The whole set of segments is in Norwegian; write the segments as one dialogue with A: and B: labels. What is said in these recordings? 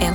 A: En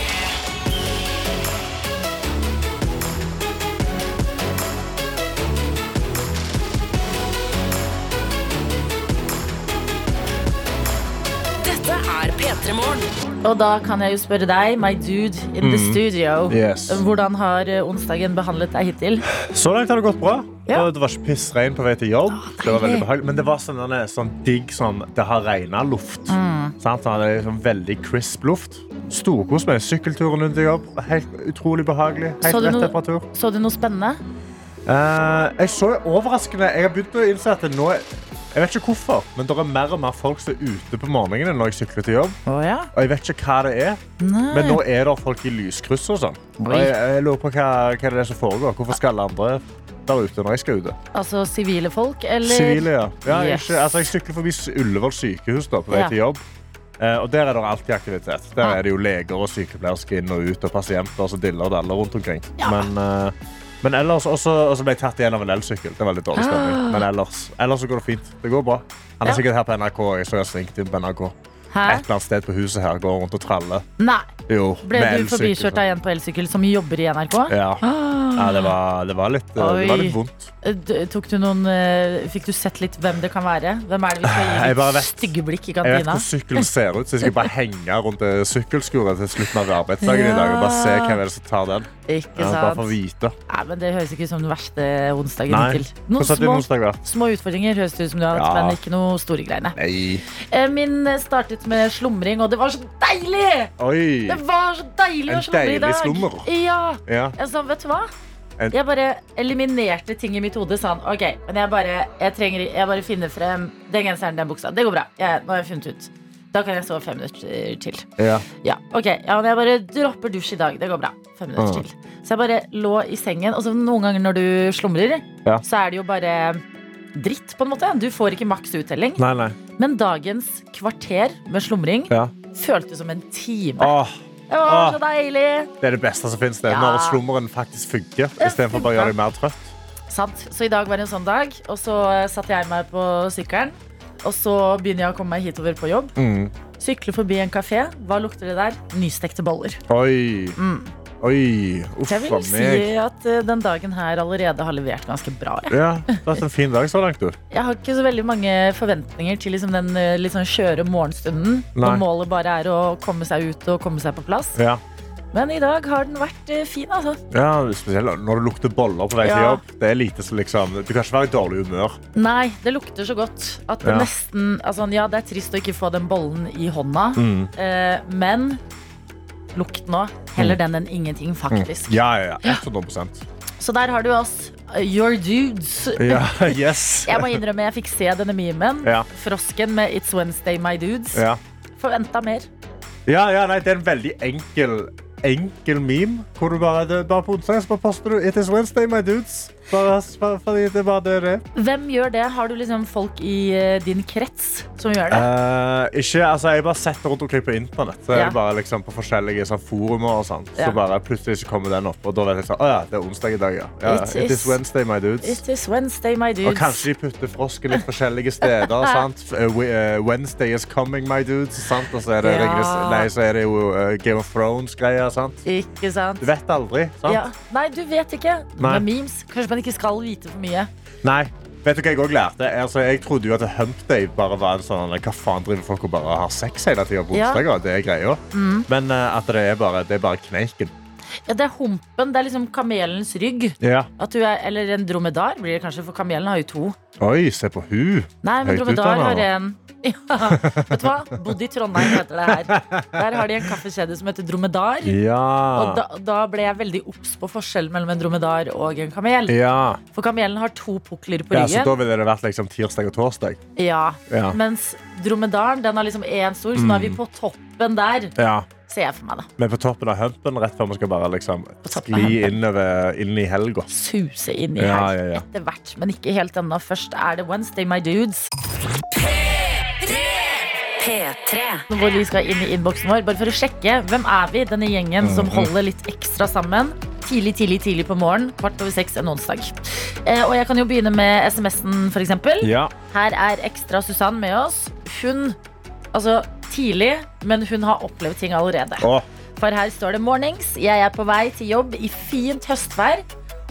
A: Dette er P3 Morgen.
B: Og da kan jeg jo spørre deg, my dude in the studio.
C: Mm. Yes.
B: Hvordan har eh, onsdagen behandlet deg hittil?
C: Så langt har det gått bra.
B: Ja.
C: Det var ikke pissregn på vei til jobb. det var veldig behagelig. Men det var sånn, denne- sånn digg sånn Det har regna luft.
B: Mm.
C: Sant? Sånn, det er sånn veldig crisp luft. Storkos med sykkelturen rundt i jobb. Helt utrolig behagelig.
B: Så
C: Helt
B: du
C: rett
B: noe-
C: temperatur.
B: Så du noe spennende?
C: Eh, jeg så overraskende Jeg har begynt å innse at det nå Jeg vet ikke hvorfor, men det er mer og mer folk som er ute på morgenene når jeg sykler til jobb.
B: Å ja.
C: Og jeg vet ikke hva det er,
B: Nei.
C: men nå er det folk i lyskryss og sånn. Og
B: Oi.
C: jeg, jeg lurer på hva, hva det er som foregår. Hvorfor skal alle andre der ute når jeg skal ute?
B: Altså sivile folk, eller?
C: Sivile, ja. ja jeg,
B: Yes.
C: ikke, altså, jeg sykler forbi S- Ullevål sykehus da, på vei
B: Ja.
C: til jobb. Eh, og der er det alltid aktivitet. Der
B: Ja.
C: er det jo leger og sykepleiere som skal inn og ut, og pasienter som diller og daller rundt omkring.
B: Ja.
C: Men, eh, men ellers Og så ble jeg tatt igjen av en elsykkel. Det er veldig dårlig stemning. Men ellers, ellers så går det fint. Det går bra.
B: Ah.
C: Han er
B: Ja.
C: sikkert her på NRK. Jeg så jeg svingte inn på NRK.
B: Hæ?
C: Et eller annet sted på huset her går rundt og traller.
B: Nei.
C: Jo,
B: Ble
C: med
B: du forbikjørt av en på elsykkel som jobber i NRK?
C: Ja. ja det, var, det, var litt, eh, det var litt
B: Oi.
C: vondt.
B: D- Tok du noen, eh, fikk du sett litt hvem det kan være? Hvem er det vi skal
C: Jeg
B: gi
C: bare
B: litt
C: vet-
B: stygge blikk i
C: Jeg vet
B: kantina?
C: hvordan sykkelen ser ut, så jeg skal bare henge rundt det sykkelskuret til slutten av arbeidsdagen i dag og bare se hvem er det som tar den.
B: Ikke
C: Ja, bare for
B: sant?
C: å vite.
B: Nei, men Det høres ikke ut som den verste onsdagen
C: Nei.
B: hittil. Noen
C: Hvordan har din
B: små,
C: onsdag vært?
B: små utfordringer høres det ut som du har hatt,
C: Ja.
B: men ikke noe store greiene.
C: Nei.
B: Eh, Min eh, startet med slumring, og det var så deilig!
C: Oi.
B: Det var så deilig å
C: En
B: slumre i
C: deilig
B: dag.
C: slummer.
B: Ja.
C: Ja.
B: Jeg sa, vet du hva?
C: En-
B: Jeg bare eliminerte ting i mitt hode. Sa han, ok, men jeg bare, jeg trenger, jeg bare finner frem den genseren, den buksa. Det går bra. Jeg, nå har jeg funnet ut. Da kan jeg sove fem minutter eh, til.
C: ja.
B: Ja, ok. Ja, men jeg bare dropper dusj i dag. Det går bra. Fem minutter
C: Mm.
B: til. Så jeg bare lå i sengen. Og så noen ganger når du slumrer,
C: Ja.
B: så er det jo bare dritt, på en måte. Du får ikke maks uttelling.
C: Nei, nei.
B: Men dagens kvarter med slumring
C: Ja. Ah.
B: føltes som en time.
C: Åh,
B: Det var så
C: Åh.
B: deilig!
C: det er det beste som finnes. Det.
B: Ja.
C: Når slummeren faktisk funker, istedenfor bare å gjøre deg mer trøtt.
B: Sant. Så i dag var det en sånn dag, og så eh, satte jeg meg på sykkelen. Og så begynner jeg å komme meg hitover på jobb.
C: Mm.
B: Sykle forbi en kafé. Hva lukter det der? Nystekte boller.
C: Oi. Oi. Uff
B: Så Mm. jeg
C: a
B: vil si
C: meg.
B: at eh, den dagen her allerede har levert ganske bra. Jeg,
C: Ja, det har vært en fin dag så langt, du.
B: jeg har ikke så veldig mange forventninger til liksom den eh, litt sånn skjøre morgenstunden.
C: Nei.
B: Når målet bare er å komme seg ut og komme seg på plass.
C: Ja.
B: Men i dag har den vært eh, fin, altså.
C: Ja, spesielt når du lukter boller på vei til
B: Ja.
C: jobb. Det er lite som liksom Du kan ikke være i dårlig humør.
B: Nei, det lukter så godt at det
C: Ja.
B: nesten altså, Ja, det er trist å ikke få den bollen i hånda,
C: Mm.
B: eh, men lukt nå. Heller den enn ingenting, faktisk.
C: Mm. Ja, ja, ja. 100
B: Så der har du oss. Your dudes.
C: Ja, yes.
B: Jeg må innrømme jeg fikk se denne memen.
C: Ja.
B: Frosken med It's Wednesday, my dudes.
C: Ja.
B: Forventa mer.
C: Ja, ja, nei, det er en veldig enkel, enkel meme. Hvor du bare, det, er bare på onsdag så bare poster du It is Wednesday, my dudes. Bare, bare, fordi det er bare det det er.
B: Hvem gjør det? Har du liksom folk i eh, din krets som gjør det?
C: Eh, ikke, altså, jeg har bare sett det rundt omkring på internett. Så er
B: Ja.
C: det bare liksom på forskjellige sånn, forumer og sånt.
B: Ja.
C: Så bare plutselig så kommer den opp, og da vet jeg sånn, å ja, det er onsdag i dag, ja. ja
B: It
C: it,
B: is-
C: is, Wednesday, my dudes.
B: It is Wednesday, my
C: Og
B: dudes.
C: kanskje de putter frosken litt forskjellige steder. sant? Eh, we- eh, Wednesday is coming, my dudes. Sant? Og så er det,
B: Ja.
C: regress- nei, så er det jo eh, Game of Thrones-greier. sant?
B: Ikke sant?
C: Du vet aldri. sant?
B: Ja. Nei, du vet ikke.
C: Nei.
B: Med memes. Kanskje man ikke skal vite for mye.
C: Nei. Vet du hva Jeg også lærte? Altså, jeg trodde jo at hump day bare var en sånn Hva faen driver folk og bare har sex hele tida på
B: Ja. Mm.
C: onsdager? Det er greia. Men eh, at det er bare, det er bare kneiken.
B: Ja, det er humpen. Det er liksom kamelens rygg.
C: Ja.
B: At du er, eller en dromedar blir det kanskje, for kamelen har jo to.
C: Oi, se på hun.
B: Nei, men
C: Høyt
B: dromedar
C: utdannet,
B: har
C: da.
B: en ja, Vet du hva? Bodd i Trondheim heter det her. Der har de en kaffekjede som heter Dromedar. Og
C: Ja.
B: da, da ble jeg veldig obs på forskjellen mellom en dromedar og en kamel.
C: Ja.
B: For kamelen har to pukler på
C: ja, Så
B: ryggen.
C: da ville det vært liksom tirsdag og torsdag.
B: Ja,
C: Ja. Mm.
B: Mens dromedaren den har liksom én stor, så nå er vi på toppen der.
C: Ja.
B: Ser jeg for meg, da.
C: Men på toppen av humpen, rett før vi skal bare liksom
B: toppen av
C: skli
B: humpen.
C: innover inn i helga.
B: Suse inn i
C: Ja,
B: her
C: ja, ja.
B: etter hvert, men ikke helt ennå. Først er det Wednesday, my dudes.
A: P3.
B: hvor vi skal inn i innboksen vår Bare for å sjekke hvem er vi, denne gjengen som
C: Mm.
B: holder litt ekstra sammen. Tidlig, tidlig, tidlig på morgenen. Kvart over seks en onsdag. Eh, og jeg kan jo begynne med SMS-en, f.eks.
C: Ja.
B: Her er ekstra Susann med oss. Hun altså, tidlig, men hun har opplevd ting allerede.
C: Åh,
B: For her står det mornings. Jeg er på vei til jobb i fint høstvær.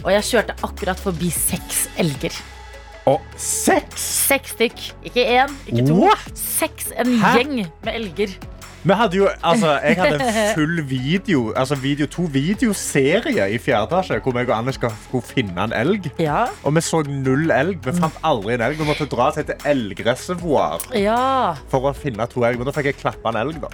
B: Og jeg kjørte akkurat forbi seks elger.
C: åh, seks!
B: Seks stykk. Ikke én, ikke to.
C: What?
B: Seks. En
C: Hæ?
B: gjeng med elger.
C: Vi hadde jo, altså, jeg hadde en full video, altså video, to videoserier i fjerde etasje, hvor jeg og Anders skulle finne en elg.
B: Ja.
C: Og vi så null elg. Vi fant aldri en elg. Vi måtte dra til et elgreservoar
B: ja.
C: for å finne to elg. Men da fikk jeg klappa en elg, da.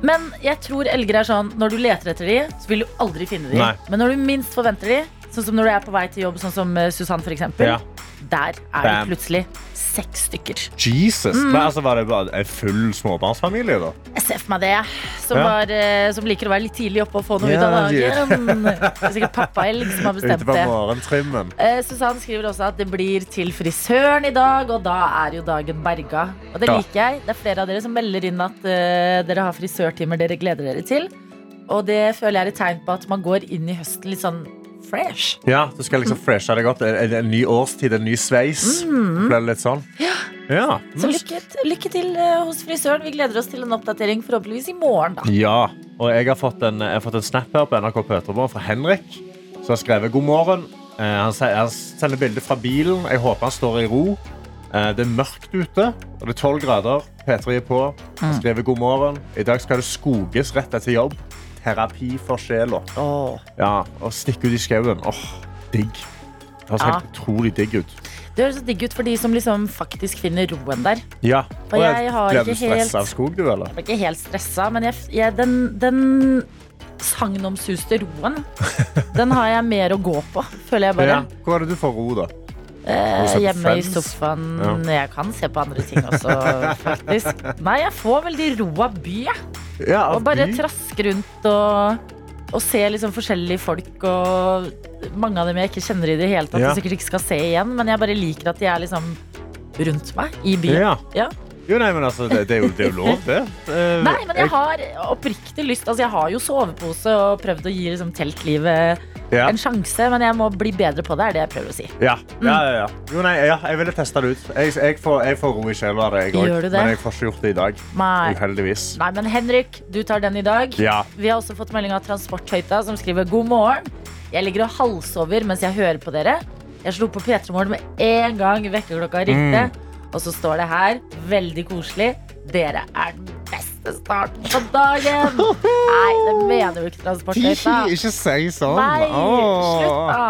B: Men jeg tror elger er sånn Når du leter etter de, så vil du aldri finne de.
C: Nei.
B: Men når du minst forventer de, sånn som når du er på vei til jobb, sånn som eh, Susann for eksempel,
C: Ja.
B: der er det
C: Bam.
B: plutselig seks stykker.
C: Jesus. Men altså, var det bare en full småbarnsfamilie, da?
B: Jeg ser for meg det, som,
C: Ja.
B: var, eh, som liker å være litt tidlig oppe og få noe ut av
C: Ja, de-
B: dagen. Det er sikkert pappaelg som har
C: Ute
B: bestemt
C: på
B: det.
C: morgentrimmen.
B: Eh, Susann skriver også at det blir til frisøren i dag, og da er jo dagen berga. Og det
C: Ja.
B: liker jeg. Det er flere av dere som melder inn at eh, dere har frisørtimer dere gleder dere til. Og det føler jeg er et tegn på at man går inn i høsten litt sånn fresh.
C: Ja, du skal liksom freshe deg opp. En, en ny årstid, en ny sveis. Ble det litt sånn? Ja.
B: Mm. Så lykke, lykke til eh, hos frisøren. Vi gleder oss til en oppdatering forhåpentligvis i morgen, da.
C: Ja, og jeg har fått en, jeg har fått en snap her på NRK Pøterborg fra Henrik, som har skrevet god morgen. Eh, han, se- han sender bilder fra bilen. Jeg håper han står i ro. Eh, det er mørkt ute, og det er 12 grader. P3 er på.
B: Mm.
C: Han skriver god morgen. I dag skal det skoges rett etter jobb. Terapi for sjela. Ja, og stikke ut i skauen. Åh, digg. Det høres
B: Ja.
C: helt utrolig digg ut.
B: Det høres så digg ut for de som liksom faktisk finner roen der.
C: Ja.
B: Og jeg har
C: Ble
B: ikke
C: du stressa
B: helt-
C: av skog, du, eller?
B: Jeg ble ikke helt stressa, men jeg, jeg, den, den sagnomsuste roen, den har jeg mer å gå på, føler jeg bare.
C: Ja. Hvor er det du får ro, da? Har du sett på
B: Eh, Hjemme i
C: Friends?
B: sofaen.
C: Ja.
B: Jeg kan se på andre ting også, faktisk. Nei, jeg får veldig ro av by, jeg.
C: Ja,
B: Og bare
C: by.
B: traske rundt og, og se liksom forskjellige folk og mange av dem jeg ikke kjenner i det hele tatt,
C: Ja.
B: og sikkert ikke skal se igjen, men jeg bare liker at de er liksom rundt meg i byen.
C: Ja.
B: Ja.
C: Jo, nei, men altså, det, det, er jo, det er jo lov, det. Eh,
B: Nei, men jeg har oppriktig lyst. Altså, jeg har jo sovepose og prøvd å gi liksom, teltlivet
C: ja.
B: en Mm. sjanse, men jeg må bli bedre på det, er det jeg prøver å si.
C: Ja. Ja, ja, ja. Jo, nei, ja, jeg ville testa det ut. Jeg, jeg, får, jeg får ro i sjela av det, jeg
B: Gjør
C: òg.
B: du det?
C: Men jeg får ikke gjort det i dag.
B: Nei.
C: Uheldigvis.
B: Nei, men Henrik, du tar den i dag.
C: Ja.
B: Vi har også fått melding av Transporthøyta, som skriver god morgen. Jeg ligger og halvsover mens jeg hører på dere. Jeg slo på P3 Morgen med en gang vekkerklokka ringte.
C: Mm.
B: Og så står det her, veldig koselig, dere er den beste starten på dagen. Nei, det mener du ikke, Transporthøyta.
C: si sånn.
B: Nei, slutt da.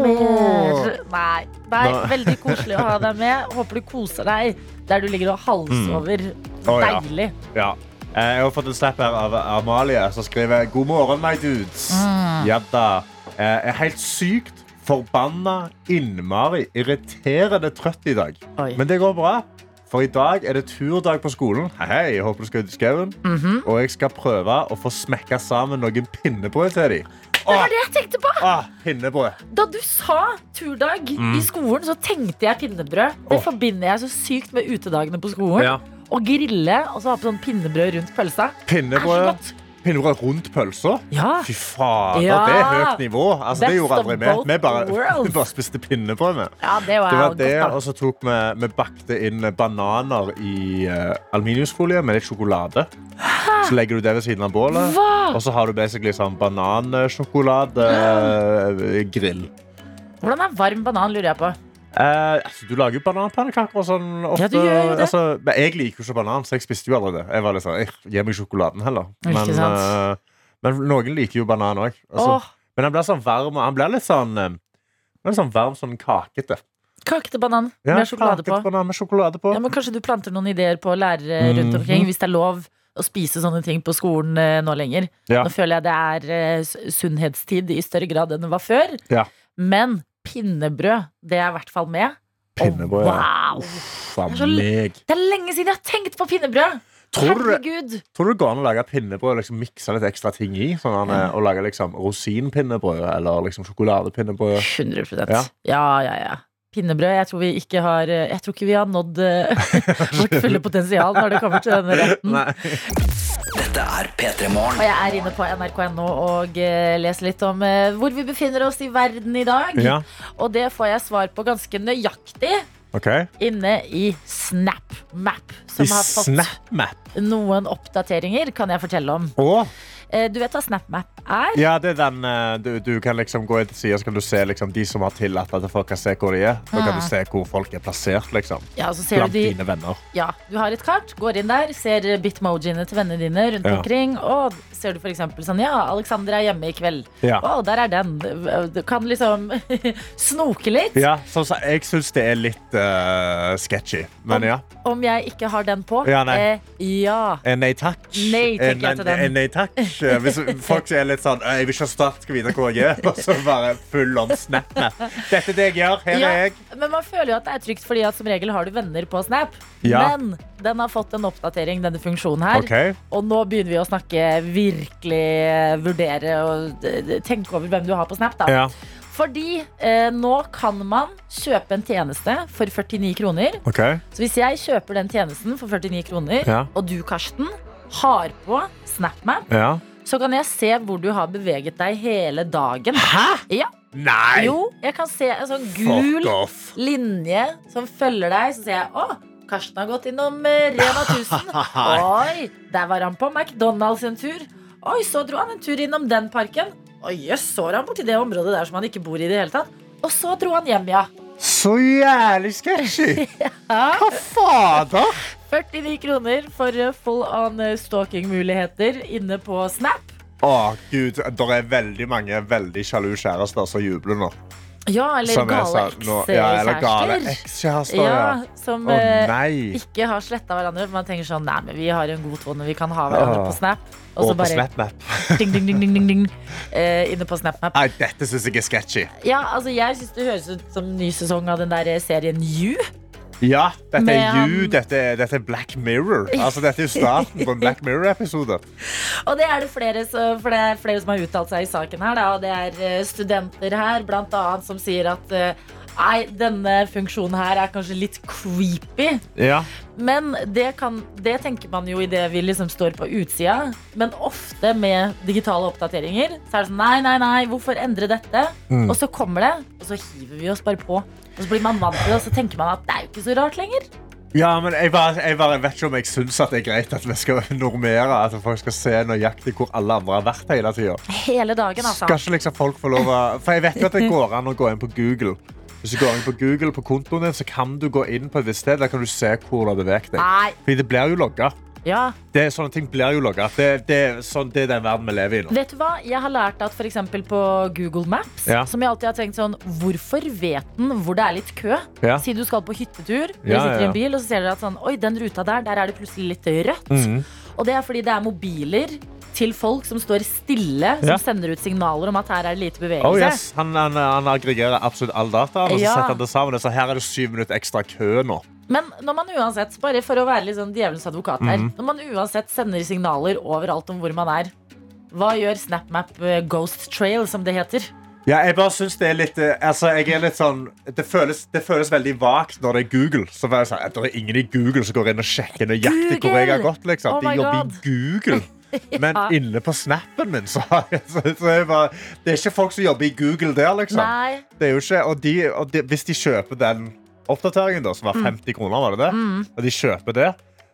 B: Mer. Nei. Nei,
C: Nei.
B: veldig koselig å ha deg med. Håper du koser deg der du ligger og halsover.
C: Mm. Å, ja.
B: Deilig.
C: Ja. Eh, Jeg har fått en snap her av av Amalie som skriver God morgen, my dudes.
B: Mm.
C: Ja da. Eh, Jeg er helt sykt forbanna, innmari irriterende trøtt i dag.
B: Oi.
C: Men det går bra. For i dag er det turdag på skolen. Hei, hei, jeg håper du skal ut i skauen.
B: Mhm.
C: Og jeg skal prøve å få smekka sammen noen pinnebrød til dem.
B: Det var det jeg tenkte på!
C: Ah, pinnebrød.
B: Da du sa turdag i skolen, så tenkte jeg pinnebrød. Det
C: Mm. Åh.
B: forbinder jeg så sykt med utedagene på skolen.
C: Ja.
B: Å grille og så ha på sånn pinnebrød rundt pølsa. Er så
C: Pinnebrød,
B: godt.
C: pinnebrød rundt pølsa.
B: Ja.
C: Fy fader,
B: Ja.
C: det er høyt nivå. Altså, det
B: Best
C: gjorde
B: of
C: aldri vi. Vi
B: both
C: bare,
B: worlds.
C: vi bare spiste pinnebrød med.
B: ja, det var,
C: Det var det,
B: godt. Da.
C: og så tok vi, vi bakte inn bananer i eh, aluminiumsfolie med litt sjokolade. Så legger du det ved siden av bålet,
B: Hva?
C: og så har du basically sånn eh, banansjokolade-grill.
B: Hvordan er varm banan, lurer jeg på.
C: Eh, altså, du lager jo bananpannekaker og sånn ofte.
B: Ja, du gjør jo det.
C: Altså, men jeg liker jo ikke banan, så jeg spiste jo aldri det. Jeg var litt sånn, «Eh, Gi meg sjokoladen heller.
B: Ikke
C: Men,
B: sant?
C: eh, men noen liker jo banan òg. Altså,
B: Åh,
C: men han blir sånn varm, og han blir litt sånn, eh, han blir sånn varm, sånn kakete.
B: kakete banan med sjokolade på.
C: kaket banan med sjokolade på.
B: Ja, men kanskje du planter noen ideer på lærere rundt
C: Mhm.
B: omkring, hvis det er lov å spise sånne ting på skolen eh, nå lenger.
C: Ja.
B: Nå føler jeg det er eh, s- sunnhetstid i større grad enn det var før.
C: Ja.
B: Men pinnebrød, det er i hvert fall med. Og
C: Pinnebrød, ja.
B: wow!
C: Faen
B: Det er så l-
C: meg.
B: Det er lenge siden jeg har tenkt på pinnebrød!
C: Tror du det-
B: Herregud!
C: Tror du det går an å lage pinnebrød og liksom mikse litt ekstra ting i? Sånn at, eh, Å lage liksom rosinpinnebrød eller liksom sjokoladepinnebrød.
B: 100
C: Ja.
B: ja. ja, ja, Pinnebrød. Jeg tror vi ikke har eh, Jeg tror ikke vi har nådd eh, vårt fulle potensial når det kommer til denne retten.
C: Nei.
D: Dette er P3 Morgen.
B: Og jeg er inne på nrk.no og eh, leser litt om eh, hvor vi befinner oss i verden i dag.
C: Ja.
B: Og det får jeg svar på ganske nøyaktig.
C: OK.
B: inne i SnapMap, som
C: I
B: har fått
C: SnapMap.
B: noen oppdateringer, kan jeg fortelle om.
C: Å,
B: Eh, Du vet hva SnapMap er?
C: ja, det er den eh, du, du kan liksom gå inn til sida, så kan du se liksom, de som har tillatt at folk kan se hvor de er. Da kan du se hvor folk er plassert, liksom.
B: Ja, så ser
C: Blant
B: du de
C: dine venner.
B: Ja, du har et kart, går inn der, ser bitmojiene til vennene dine rundt
C: Ja.
B: omkring, og ser du for eksempel sånn, ja, Alexander er hjemme i kveld.
C: Ja.
B: Å, der er den. Du kan liksom snoke litt.
C: Ja, sånn som sagt, jeg syns det er litt eh, sketchy, men ja.
B: Om jeg ikke har den på.
C: Ja, nei.
B: Eh, ja.
C: Eh, Nei takk.
B: Nei, tenker
C: Eh,
B: jeg til den.
C: eh, Nei takk. Eh, Hvis folk er litt sånn eh, Jeg vil ikke at Start skal vite hvor jeg er. Og så bare full on snap. Dette er det jeg gjør. Her
B: Ja,
C: er jeg.
B: men man føler jo at det er trygt, fordi at som regel har du venner på Snap.
C: Ja.
B: Men den har fått en oppdatering, denne funksjonen her.
C: Ok.
B: Og nå begynner vi å snakke virkelig eh, vurdere og eh, tenke over hvem du har på Snap. da.
C: Ja.
B: Fordi eh, nå kan man kjøpe en tjeneste for 49 kroner.
C: OK.
B: Så hvis jeg kjøper den tjenesten for 49 kroner,
C: Ja.
B: og du, Karsten, har på SnapMap,
C: Ja.
B: så kan jeg se hvor du har beveget deg hele dagen.
C: Hæ?
B: Ja,
C: Nei!
B: jo, jeg kan se en sånn gul
C: Fuck off.
B: linje som følger deg, så ser jeg å, Karsten har gått innom eh, Rema 1000. Oi, der var han på McDonald's en tur. Oi, så dro han en tur innom den parken. Oi, jøss, så var han borti det området der som han ikke bor i det hele tatt. Og så dro han hjem, ja.
C: Så jævlig sketchy. Hva fader?
B: 49 kroner for eh, full on eh, stalking-muligheter inne på Snap.
C: Å, gud. Det er veldig mange veldig sjalu kjærester som jubler nå.
B: Ja, eller
C: Som jeg
B: gale
C: sa nå. Ja, eller gale
B: ekskjærester.
C: ekskjærester.
B: Ja,
C: Ja.
B: som
C: Å,
B: eh,
C: nei.
B: ikke har sletta hverandre. For man tenker sånn Nei, men vi har en god tone, vi kan ha hverandre
C: Åh.
B: på Snap. Og
C: Og
B: så
C: på
B: bare
C: SnapMap.
B: ding, ding, ding, ding, ding, ding eh, inne på SnapMap.
C: Nei, dette syns jeg er sketchy.
B: Ja, altså, jeg syns det høres ut som en ny sesong av den der eh, serien You.
C: Ja, dette
B: Med,
C: er You,
B: um,
C: dette er, dette er Black Mirror. Altså, dette er jo starten på en Black Mirror-episode.
B: Og det er det flere, så- for det er flere som har uttalt seg i saken her, da. Og det er eh, studenter her, blant annet, som sier at eh, Nei, denne funksjonen her er kanskje litt creepy.
C: Ja.
B: Men det, kan, det tenker man jo idet vi liksom står på utsida. Men ofte med digitale oppdateringer så er det sånn nei, nei, nei, hvorfor endre dette?
C: Mm.
B: Og så kommer det, og så hiver vi oss bare på. Og så blir man vant til det, og så tenker man at det er jo ikke så rart lenger.
C: men jeg, bare, jeg bare vet ikke om jeg syns det er greit at vi skal normere at folk skal se nøyaktig hvor alle andre har vært hele tida.
B: Hele dagen, altså.
C: Skal ikke liksom folk få lov å For jeg vet jo at det går an å gå inn på Google. Hvis du går inn på Google på kontoen din, så kan du gå inn på et visst sted. Der kan du se hvor du har beveget deg.
B: Nei.
C: Fordi det blir jo logga.
B: Ja.
C: Det, sånne ting blir jo logga. Det, det, er sånn, det er den verden vi lever i nå.
B: Vet du hva? Jeg har lært at f.eks. på Google Maps,
C: Ja.
B: som jeg alltid har tenkt sånn Hvorfor vet den hvor det er litt kø?
C: Ja.
B: Si du skal på hyttetur, dere
C: Ja,
B: sitter i
C: ja, ja.
B: en bil, og så ser dere at sånn Oi, den ruta der, der er det plutselig litt rødt.
C: Mhm.
B: Og det er fordi det er mobiler til folk som står stille, som
C: Ja.
B: sender ut signaler om at her er det lite bevegelse.
C: Oh, yes. han, han, han aggregerer absolutt all data og så
B: Ja.
C: setter han det sammen. Så her er det syv minutter ekstra kø nå.
B: Men når man uansett, bare for å være litt sånn djevelens advokat her,
C: Mhm.
B: når man uansett sender signaler overalt om hvor man er, hva gjør SnapMap eh, Ghost Trail, som det heter?
C: Ja, jeg bare synes Det er litt, eh, altså, jeg er litt sånn, det, føles, det føles veldig vagt når det er Google. Så er det, sånn, at det er ingen i Google som går inn og sjekker nøyaktig hvor jeg
B: Google!
C: har gått. Liksom.
B: Oh my
C: De jobber
B: God.
C: i Google. Men
B: Ja.
C: inne på snappen min så, har jeg- så, så er jeg bare, Det er ikke folk som jobber i Google der, liksom.
B: Nei.
C: Det er jo ikke, og de, og de, hvis de kjøper den oppdateringen, da, som
B: Mm.
C: var 50 kroner, var det det? og de kjøper det,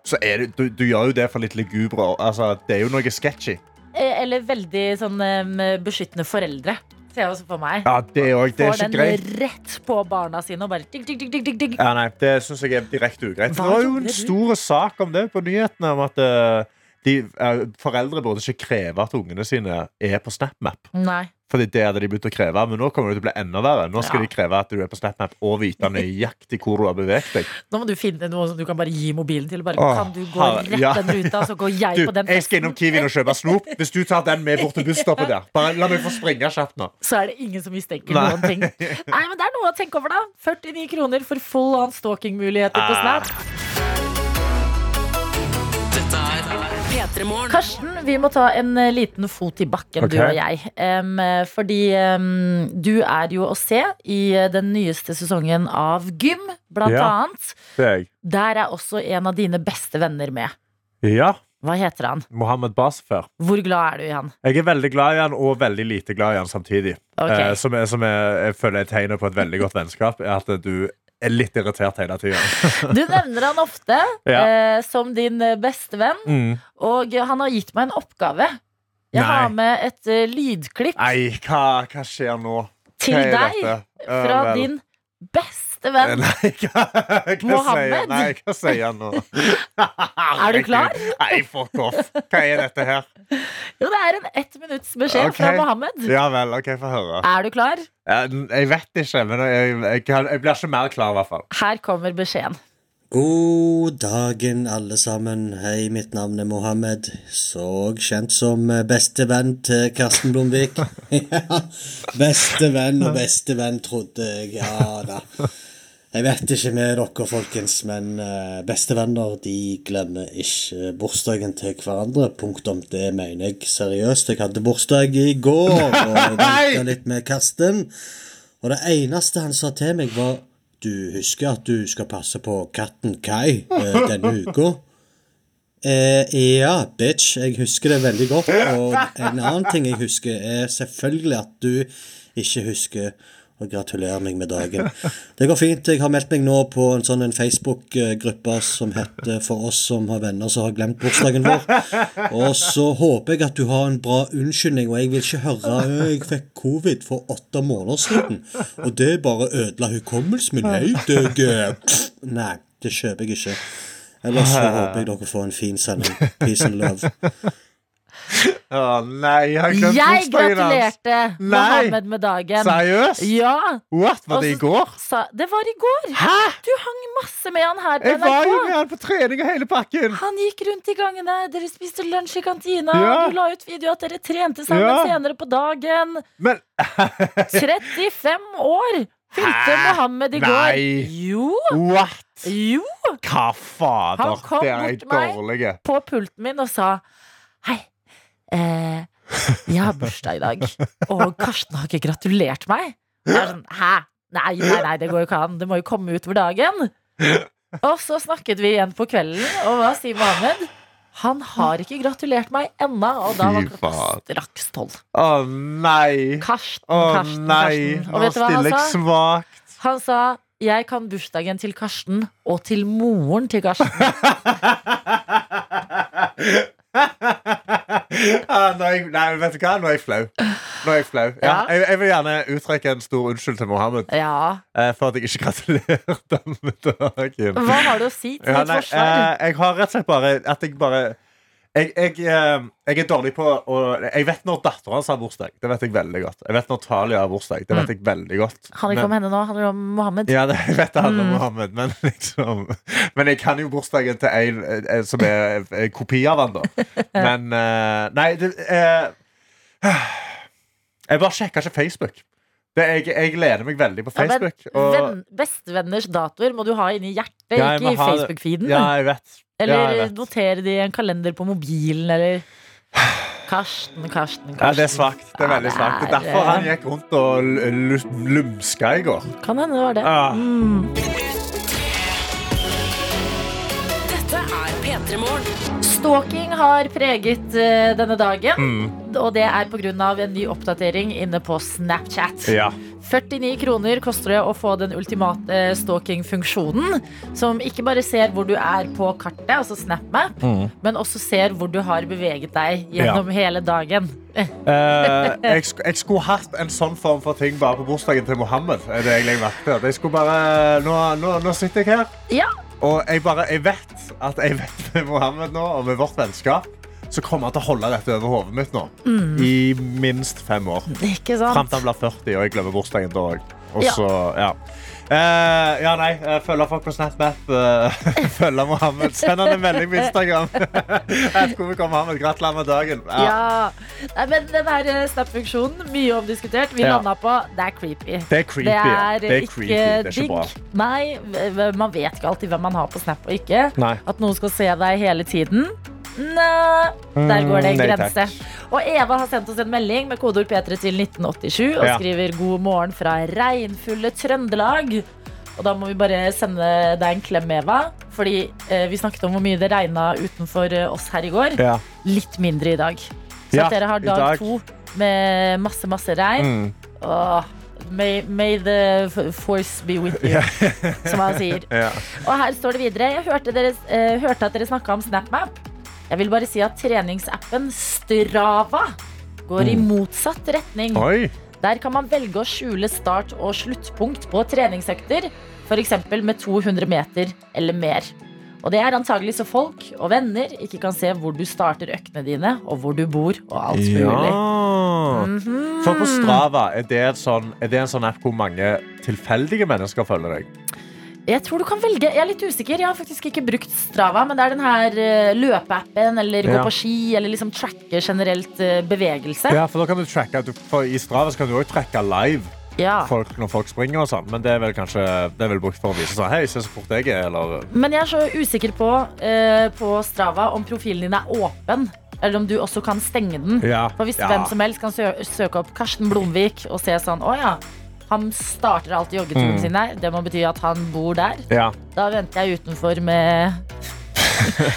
C: så er det, du, du gjør jo det for litt lugubre. Altså, det er jo noe sketchy.
B: Eh, Eller veldig sånn eh, beskyttende foreldre, ser jeg også for meg.
C: Ja, det er, også, det er
B: Får
C: ikke
B: den
C: greit.
B: rett på barna sine og bare digg, digg, digg, digg, digg.
C: Ja, nei, det syns jeg er direkte ugreit.
B: Hva
C: Det var jo
B: gjorde
C: en
B: du?
C: stor sak om det på nyhetene. om at eh, de, eh, Foreldre burde ikke kreve at ungene sine er på SnapMap.
B: Nei.
C: Fordi det hadde de begynt å kreve, men nå kommer det til å bli enda verre. Nå skal
B: Ja.
C: de kreve at du er på SnapMap og vite nøyaktig hvor du har beveget deg.
B: Nå må du finne noe som du kan bare gi mobilen til. Bare,
C: Åh,
B: kan du gå
C: herre-
B: rett
C: ja.
B: den ruta, så går jeg
C: Du,
B: på den
C: jeg skal innom Kiwien og kjøpe snop. Hvis du tar den med bort til busstoppet der. Bare la meg få springe kjapt nå.
B: Så er det ingen som mistenker
C: Nei.
B: noen ting. Nei, men Det er noe å tenke over, da. 49 kroner for full on stalking-muligheter på Snap.
C: Ah.
D: Dette er
A: P3morgen.
B: Karsten, vi må ta en eh, liten fot i bakken, du
C: Ok.
B: og jeg. Em, eh, fordi em, du er jo å se i eh, den nyeste sesongen av Gym, blant
C: Ja.
B: annet. Der er også en av dine beste venner med.
C: Ja,
B: Hå heter han?
C: Mohammed Basfer.
B: Hvor glad er du i han?
C: Jeg er veldig glad i han, og veldig lite glad i han samtidig.
B: Ok.
C: Eh, som jeg, som jeg, jeg føler er tegnet på et veldig godt vennskap, er at du er litt irritert hele tida.
B: Du nevner han ofte
C: Ja.
B: eh, som din eh, beste venn,
C: Mm.
B: og han har gitt meg en oppgave. Jeg
C: Nei.
B: har med et eh, lydklipp
C: Nei, hva, hva skjer nå?
B: til
C: Hva er
B: deg
C: dette? Eh,
B: fra
C: vel. Eh,
B: din beste venn.
C: Nei, hva, hva sier
B: Mohammed?
C: Nei, hva sier han nå?
B: Er du klar?
C: Nei, fuck off. Hva er dette her?
B: Jo, det er en ett minutts beskjed fra
C: Ok.
B: Mohammed.
C: Ja vel, OK, få høre.
B: Er du klar?
C: Jeg, jeg vet ikke, men jeg, jeg, kan- jeg blir ikke mer klar, i hvert fall.
B: Her kommer beskjeden.
E: God dagen, alle sammen. Hei, mitt navn er Mohammed. Så kjent som bestevenn til Karsten Blomvik. ja, bestevenn og bestevenn, trodde jeg. Ja da. Jeg vet ikke med dere, folkens, men eh, bestevenner de glemmer ikke bursdagen til hverandre. Punktum. Det mener jeg seriøst. Jeg hadde bursdag i går og venta litt med Karsten. Og det eneste han sa til meg var Du husker at du skal passe på katten Kai eh, denne uka? Eh, ja, bitch. Jeg husker det veldig godt. Og en annen ting jeg husker, er selvfølgelig at du ikke husker å gratulere meg med dagen. Det går fint. Jeg har meldt meg nå på en sånn en Facebook-gruppe som heter For oss som har venner som har glemt bursdagen vår. Og så håper jeg at du har en bra unnskyldning, og jeg vil ikke høre «Ø, jeg fikk covid for åtte måneder siden, og det bare ødela hukommelsen min. Hei, deg. eh.» Nei, det kjøper jeg ikke. Ellers så håper jeg dere får en fin sending. Peace and love.
C: Å nei, jeg har glemt
B: Jeg
C: bursdagen hans.
B: gratulerte Mohammed med dagen.
C: Seriøst?
B: Ja,
C: What? Var det i
B: Og så-
C: går?
B: sa, Det var i går.
C: Hæ?
B: Du hang masse med han her på
C: Jeg var jo
B: NRK.
C: med han på trening og hele pakken.
B: Han gikk rundt i gangene, dere spiste lunsj i kantina,
C: Ja.
B: du la ut video at dere trente sammen
C: Ja.
B: senere på dagen.
C: Men
B: 35 år fylte
C: Hæ?
B: Mohammed i går.
C: Nei.
B: Jo,
C: what?
B: jo,
C: Hva fader?
B: Han kom
C: Det er
B: bort
C: jeg
B: til meg.
C: dårlig.
B: på pulten min og sa hei, eh, jeg har bursdag i dag, og Karsten har ikke gratulert meg. Og jeg er sånn, hæ? Nei, nei, nei, det går jo ikke an, det må jo komme utover dagen. Og så snakket vi igjen på kvelden, og hva sier Mohammed? Han har ikke gratulert meg ennå, og da var
C: Fy
B: klokka
C: faen.
B: straks tolv.
C: Å nei.
B: Karsten,
C: Å
B: Karsten,
C: nei. liksom.
B: Karsten. Og
C: Nå
B: vet du hva
C: stiller
B: han
C: jeg
B: sa?
C: svakt.
B: Han sa jeg kan bursdagen til Karsten og til moren til Karsten.
C: Ah, nå er jeg, nei, vet du hva? Nå er jeg flau. Nå er jeg, flau. Ja,
B: Ja.
C: jeg, jeg vil gjerne uttrekke en stor unnskyld til Mohammed
B: Ja,
C: eh, for at jeg ikke gratulerte ham med dagen.
B: Hva har du å si til
C: Ja,
B: ditt
C: nei,
B: forsvar?
C: eh, jeg har rett og slett bare At jeg bare Jeg, jeg, eh, jeg er dårlig på å Jeg vet når datteren hans har bursdag. Det vet jeg veldig godt. Jeg vet når Talia har bursdag. Det
B: Mm.
C: vet jeg veldig godt.
B: Handler ikke om henne nå, handler om Mohammed.
C: Ja, det, jeg vet det
B: Mm.
C: handler om Mohammed, men liksom Men jeg kan jo bursdagen til en eh, som er eh, kopi av han, da. Men eh, Nei, det eh, Jeg bare sjekker ikke Facebook. Det, jeg, jeg lener meg veldig på
B: Ja, men
C: Facebook. og-
B: venn, bestevenners datoer må du ha inni hjertet,
C: Ja, jeg
B: ikke
C: må
B: i
C: ha det.
B: Facebook-feeden.
C: ja, jeg vet. ja,
B: eller
C: jeg vet.
B: notere det i en kalender på mobilen, eller Karsten, Karsten, Karsten.
C: Ja, det er svakt. Det er veldig
B: Ja,
C: svakt. Det er derfor han gikk rundt og l- l- lumska i går.
B: Kan hende det var det.
C: Ah.
A: Dette er P3 Morgen.
B: Stalking har preget eh, denne dagen.
C: Mm.
B: Og det er pga. en ny oppdatering inne på Snapchat.
C: Ja.
B: 49 kroner koster det å få den ultimate eh, stalking-funksjonen. Som ikke bare ser hvor du er på kartet, altså SnapMap,
C: Mm.
B: men også ser hvor du har beveget deg gjennom hele dagen.
C: Eh, jeg, sk jeg skulle hatt en sånn form for ting bare på bursdagen til Mohammed. er Det jeg legger merke til. At Jeg skulle bare, nå, nå, nå sitter jeg her,
B: Ja,
C: og jeg, bare, jeg vet at jeg vet med Mohammed nå, og med vårt vennskap, så kommer han til å holde dette over hodet mitt nå. I minst fem år.
B: ikke
C: Fram
B: sant?
C: til han blir 40, og jeg glemmer bursdagen da òg. Og
B: Ja.
C: så, ja. Eh, ja, nei. eh, Følge folk på SnapMap. eh, følge Mohammed. Send han en melding på Instagram. Et komiker Mohammed. Gratulerer med dagen. Ja.
B: Ja. Nei, men den her eh, Snap-funksjonen, mye omdiskutert. Vi
C: Ja.
B: landa på det er creepy.
C: Det er creepy.
B: Det
C: ja.
B: er,
C: det er
B: ikke
C: creepy. Det er ikke
B: digg.
C: bra.
B: Nei, v- v- man vet ikke alltid hvem man har på Snap og ikke.
C: Nei.
B: At noen skal se deg hele tiden. Nei, der går det en
C: Mm, nei, takk.
B: grense. Og Eva har sendt oss en melding med kodeord P3 til 1987 og
C: Ja.
B: skriver 'God morgen fra regnfulle Trøndelag'. Og da må vi bare sende deg en klem, Eva. Fordi eh, vi snakket om hvor mye det regna utenfor eh, oss her i går.
C: Ja.
B: Litt mindre i dag. Så
C: Ja,
B: at dere har
C: i
B: dag,
C: dag.
B: to med masse, masse regn.
C: Mm.
B: Åh, May, may the f- force be with you, som han sier.
C: Ja.
B: Og her står det videre. Jeg hørte, dere, eh, hørte at dere snakka om SnapMap. Jeg vil bare si at treningsappen Strava går i motsatt retning.
C: Oi!
B: Der kan man velge å skjule start- og sluttpunkt på treningsøkter, f.eks. med 200 meter eller mer. Og det er antagelig så folk og venner ikke kan se hvor du starter øktene dine, og hvor du bor, og alt mulig.
C: Ja.
B: Mhm.
C: For på Strava, er det, et sånn, er det en sånn app hvor mange tilfeldige mennesker følger deg?
B: Jeg tror du kan velge, jeg er litt usikker, jeg har faktisk ikke brukt Strava, men det er den her eh, løpeappen, eller gå
C: Ja.
B: på ski, eller liksom tracke generelt eh, bevegelse.
C: Ja, for da kan du tracke, du- for I Strava så kan du også tracke live
B: Ja.
C: folk når folk springer. og sånn Men det er vel kanskje det er vel brukt for å vise sånn Hei, se så fort jeg er. Eller
B: Men jeg er så usikker på, eh, på Strava om profilen din er åpen, eller om du også kan stenge den.
C: Ja,
B: For hvis
C: ja.
B: hvem som helst kan sø søke opp Karsten Blomvik og se sånn, å ja, han starter alltid
C: Mm.
B: joggeturen sin her, det må bety at han bor der.
C: Ja.
B: Da venter jeg utenfor med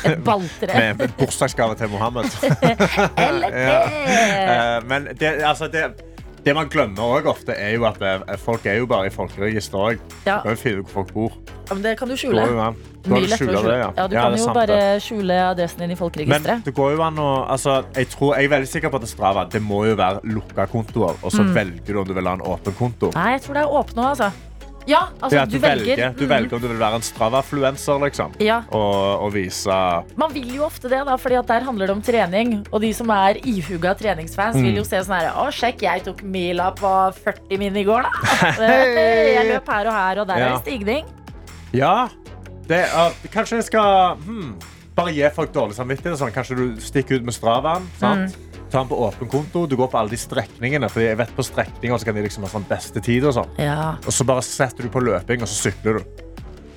B: et balltre.
C: Med en bursdagsgave til Mohammed.
B: Eller det!
C: Eh, Men det, altså det, det man glemmer også ofte, er jo at eh, folk er jo bare i folkeregisteret òg.
B: Ja.
C: Du kan jo finne ut hvor folk bor.
B: Ja, men det kan du
C: Det
B: skjule.
C: går jo an. Du kan
B: Mye lettere å
C: skjule
B: skjule.
C: det,
B: Ja.
C: ja.
B: du
C: Ja,
B: kan
C: det er
B: jo
C: sant,
B: bare
C: det.
B: skjule adressen din i
C: Men
B: folkeregisteret.
C: det går jo an å altså, jeg, tror, jeg er veldig sikker på at Strava det må jo være lukka kontoer, og
B: Mm.
C: så velger du om du vil ha en åpen konto.
B: Nei, jeg tror det er åpne òg, altså. Ja, altså,
C: Det er at
B: du, velger.
C: du
B: Mm.
C: velger om du vil være en Strava-fluencer liksom,
B: Ja.
C: og, og vise
B: Man vil jo ofte det, da, fordi at der handler det om trening. Og de som er ihuga treningsfans,
C: Mm.
B: vil jo se sånn her Å, sjekk, jeg tok mila på 40 min i går, da.
C: Hei!
B: Jeg løp her og her, og der er
C: Ja.
B: det stigning.
C: Ja, det, er- ah, kanskje jeg skal hmm, bare gi folk dårlig samvittighet. og Sånn. Kanskje du stikker ut med Stravaen. Sant?
B: Mm.
C: Ta den på åpen konto. Du går på alle de strekningene. Fordi jeg vet på strekninger så kan de liksom ha sånn beste tid. Og sånn.
B: Ja.
C: Og så bare setter du på løping, og så sykler du.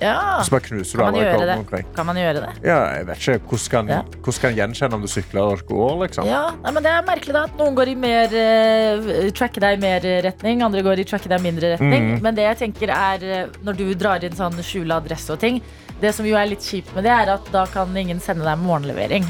B: ja.
C: Og så bare knuser du
B: Ah, Kan man
C: alle
B: gjøre
C: rekordene
B: det?
C: omkring.
B: Kan man gjøre det?
C: Ja, jeg vet ikke. Hvordan kan,
B: Ja.
C: hvordan kan en gjenkjenne om du sykler eller går? Liksom?
B: Ja, nei, men Det er merkelig da at noen går i mer eh, tracke deg i mer retning, andre går i tracke deg i mindre retning.
C: Mm.
B: Men det jeg tenker er eh, når du drar inn sånn skjula adresse og ting Det som jo er litt kjipt med det, er at da kan ingen sende deg morgenlevering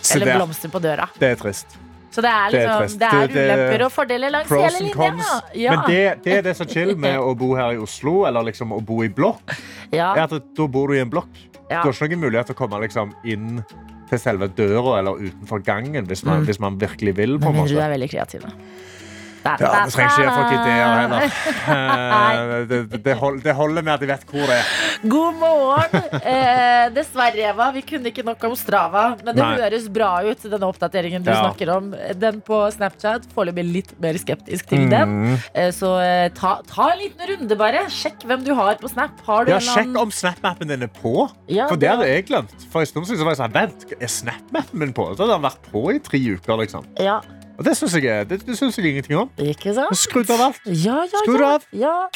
C: Så
B: eller
C: det, er-
B: blomster på døra.
C: det er trist.
B: Så det er
C: Det er
B: liksom
C: trist.
B: Det er
C: Det- det-
B: ulemper og fordeler langs
C: Pros
B: hele
C: and
B: linja.
C: cons.
B: da. Ja.
C: Men det, det er det som er chill med å bo her i Oslo, eller liksom å bo i blokk. er
B: ja.
C: at Da bor du i en blokk.
B: Ja.
C: Du har ikke noen mulighet til å komme liksom, inn til selve døra eller utenfor gangen hvis man, hvis man virkelig vil. På
B: Mm. Men
C: en
B: mindre du
C: måte.
B: er veldig kreativ, da. Da,
C: Ja,
B: da,
C: Vi trenger ikke gi folk
B: da.
C: ideer heller. Eh, Det, det- det, hold, det holder med at de vet hvor det er.
B: God morgen. Eh, dessverre, Eva, vi kunne ikke nok om Strava. Men det
C: Nei.
B: høres bra ut, denne oppdateringen du
C: Ja.
B: snakker om. Den på Snapchat. Foreløpig litt mer skeptisk til den.
C: Mm.
B: Eh, så eh, ta, ta en liten runde, bare. Sjekk hvem du har på Snap. Har du
C: Ja,
B: en
C: sjekk
B: annen-
C: om Snap-mappen din er på.
B: Ja,
C: For
B: det-
C: det hadde jeg glemt. For en stund siden så var jeg sånn, vent, er Snap-mappen min på? Så hadde den vært på i tre uker. liksom.
B: Ja,
C: Og det syns jeg, er- det, det synes jeg ingenting om.
B: ikke sant?
C: Skrudd av alt.
B: Ja, ja,
C: Skru
B: ja.
C: av.
B: ja.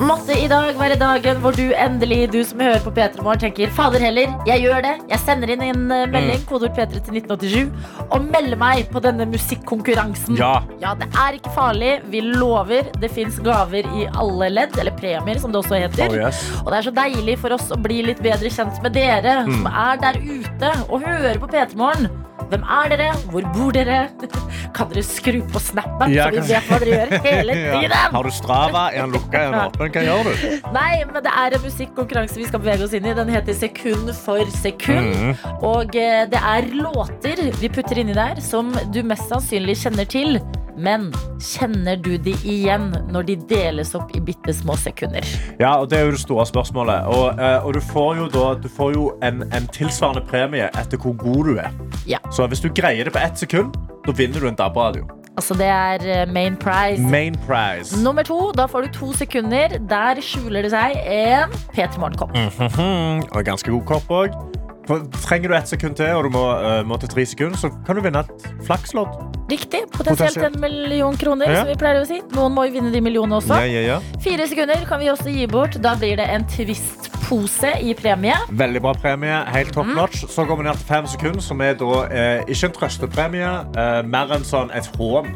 B: Måtte i dag være dagen hvor du endelig, du som hører på P3 Morgen, tenker fader heller, jeg gjør det. Jeg sender inn en eh, melding, kodeord P3 til 1987, og melder meg på denne musikkonkurransen.
C: Ja.
B: det er ikke farlig. Vi lover. Det fins gaver i alle ledd, eller premier, som det også heter.
C: Oh, yes.
B: Og det er så deilig for oss å bli litt bedre kjent med dere
C: Mm.
B: som er der ute og hører på P3 Morgen. Hvem er dere? Hvor bor dere? Kan dere skru på snappen,
C: Ja,
B: så vi
C: kan-
B: vet hva dere gjør hele
C: Ja.
B: tiden?
C: Har du Strava? Er han lukka? Er han åpen? Hva gjør du?
B: Nei, men det er en musikkonkurranse vi skal bevege oss inn i. Den heter Sekund for sekund.
C: Mm.
B: Og eh, det er låter vi putter inni der som du mest sannsynlig kjenner til. Men kjenner du de igjen når de deles opp i bitte små sekunder?
C: Ja, og Det er jo det store spørsmålet. Og, eh, og du får jo, da, du får jo en, en tilsvarende premie etter hvor god du er.
B: Ja.
C: Så hvis du greier det på ett sekund, da vinner du en DAB-radio.
B: Altså, det er eh, main prize.
C: Main prize.
B: Nummer to, da får du to sekunder. Der skjuler det seg en P3 Morgenkopp.
C: Mhm, Og ganske god kopp òg. Trenger du ett sekund til, og du må, eh, må til tre sekunder, så kan du vinne et flakslodd.
B: Riktig. Potensielt
C: Potensielt.
B: en million kroner,
C: Ja.
B: som vi pleier å si. Noen må jo vinne de millionene også.
C: Ja, ja, ja.
B: Fire sekunder kan vi også gi bort. Da blir det en Twist-pose i premie.
C: Veldig bra premie. Helt top notch. Så går vi ned til fem sekunder, som er da eh, ikke en trøstepremie, eh, mer enn sånn et hån.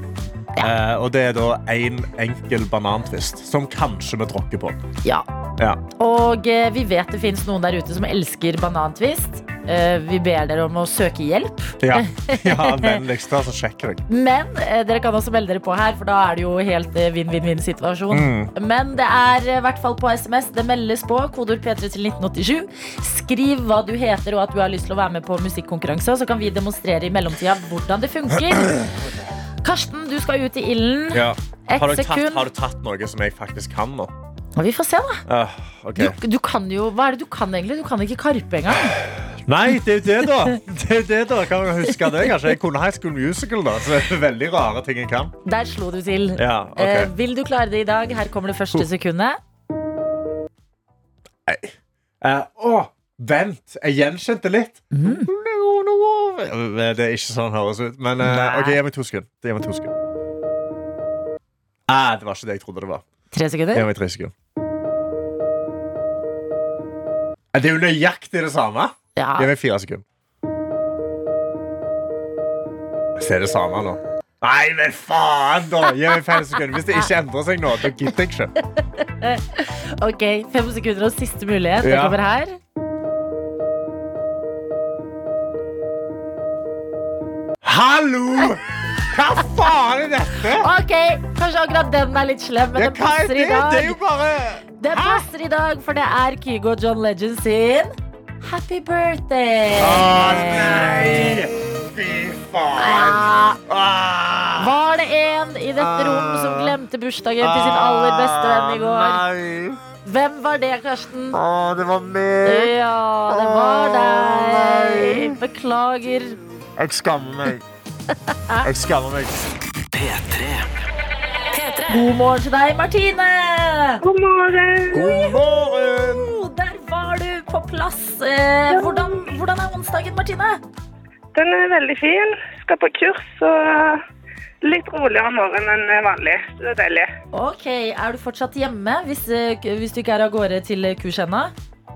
C: Eh, og det er da én en enkel banantvist, som kanskje vi tråkker på.
B: Ja.
C: Ja.
B: Og eh, vi vet det fins noen der ute som elsker banantvist. eh, vi ber dere om å søke hjelp.
C: Ja, ja vennligst ta og sjekk deg.
B: Men eh, dere kan også melde dere på her, for da er det jo helt eh, vinn-vinn-vinn-situasjon. Men det er eh, i hvert fall på SMS. Det meldes på. Kodeord P3 til 1987. Skriv hva du heter og at du har lyst til å være med på musikkonkurranse, og så kan vi demonstrere i mellomtida hvordan det funker. Karsten, du skal ut i ilden.
C: Ja.
B: Ett
C: Har, du tatt,
B: sekund.
C: har du tatt noe som jeg faktisk kan nå?
B: Og vi får se, da.
C: Ah, ok.
B: Du, du kan jo Hva er det du kan egentlig? Du kan ikke Karpe engang.
C: Nei, det er jo det, da! Det er jo det da, Kan jeg huske det? Kanskje jeg kunne High School Musical, da. Så det er veldig rare ting jeg kan.
B: Der slo du til.
C: Ja, ok.
B: Eh, vil du klare det i dag? Her kommer det første sekundet.
C: Eh, Å, vent! Jeg gjenkjente litt.
B: Mm.
C: Eh, Det er ikke sånn det høres ut. Men eh,
B: Nei.
C: OK, gi meg to sekunder. Gi meg to sekunder. Eh, det var ikke det jeg trodde det var.
B: Tre
C: Gi
B: sekunder.
C: meg tre sekunder. Eh, Det er jo nøyaktig det samme.
B: Ja.
C: Gi meg fire sekunder. Jeg ser det samme nå. Nei, men faen, da! Gi meg fem sekunder. Hvis det ikke endrer seg nå, da gidder jeg ikke.
B: Ok, Fem sekunder og siste mulighet. Det
C: Ja.
B: kommer her.
C: Hallo! Hva faen er dette?
B: Ok, Kanskje akkurat den er litt slem, men
C: Ja,
B: den
C: hva er
B: passer
C: det?
B: i dag.
C: Det er jo bare
B: Den passer i dag, for det er Kygo og John Legend sin Happy birthday!
C: Fy faen!
B: Ah,
C: Ah.
B: Var det en i dette rom som glemte bursdagen til sin aller beste venn i går?
C: Ah, Nei.
B: Hvem var det, Karsten?
C: Åh, det var meg.
B: Ja, det
C: Åh,
B: var
C: nei.
B: deg. Beklager.
C: Jeg skammer meg. Jeg skammer meg.
D: P3
A: P3.
B: God morgen til deg, Martine!
F: God morgen.
C: God morgen!
B: Oh, der var du på plass. Eh, hvordan, hvordan er onsdagen, Martine?
F: Den er veldig fin. Skal på kurs og eh, litt roligere morgen enn vanlig. Så det er deilig.
B: Ok, Er du fortsatt hjemme hvis, eh, k- hvis du ikke er av gårde til eh, kurs ennå?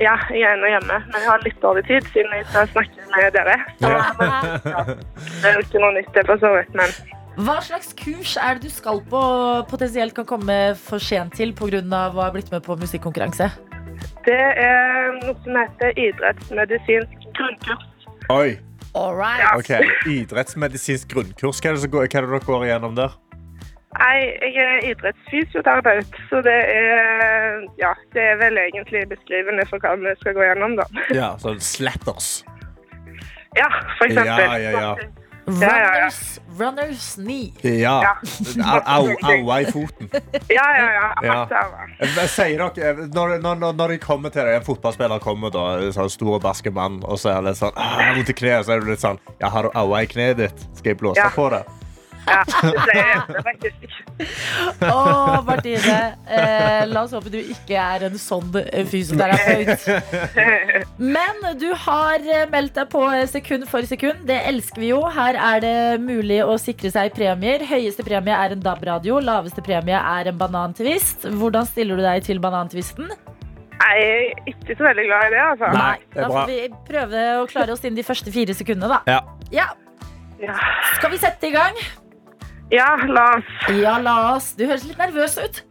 F: Ja, jeg er ennå hjemme, men jeg har litt dårlig tid siden jeg skal snakke med dere. Så det er jo ikke noe nytt, det for så vidt, men
B: Hva slags kurs er det du skal på og potensielt kan komme for sent til pga. å ha blitt med på musikkonkurranse?
F: det er noe som heter idrettsmedisinsk grunnkurs.
C: Oi.
B: All right.
C: Ok, Idrettsmedisinsk grunnkurs. Hva er det som går, hva er det dere går igjennom der?
F: Nei, jeg er idrettsfysioterapeut, så det er, ja, det er vel egentlig beskrivende for hva vi skal gå gjennom, da.
C: Ja, sånn slatters.
F: Ja, for eksempel.
C: Ja, ja, ja.
F: ja, ja.
B: Runners, runners knee.
C: Ja.
F: Ja.
C: Au, au, aua i foten.
F: Ja, ja, ja.
C: Ja.
F: Masse av det.
C: Sier dere, eh, når, når, når- når de kommer til deg, en fotballspiller kommer da, en sånn stor barske mann, og så er det sånn, ah, jeg har vondt i kneet, så er du litt sånn, ja, har du aua i kneet ditt? Skal jeg blåse
F: Ja.
C: på det?
F: Ja, det ble jeg faktisk.
B: Å, Martine. Eh, la oss håpe du ikke er en sånn eh, fysioterapeut. Men du har eh, meldt deg på eh, sekund for sekund. Det elsker vi jo. Her er det mulig å sikre seg premier. Høyeste premie er en DAB-radio. Laveste premie er en banantvist. Hvordan stiller du deg til banantvisten?
F: Nei, Jeg er ikke så veldig glad i det, altså.
C: Nei, det er
B: Da
C: bra.
B: får vi prøve å klare oss innen de første fire sekundene, da.
C: Ja.
B: Ja,
F: Ja,
B: Skal vi sette i gang?
F: ja la oss.
B: Ja, la oss. Du høres litt nervøs ut.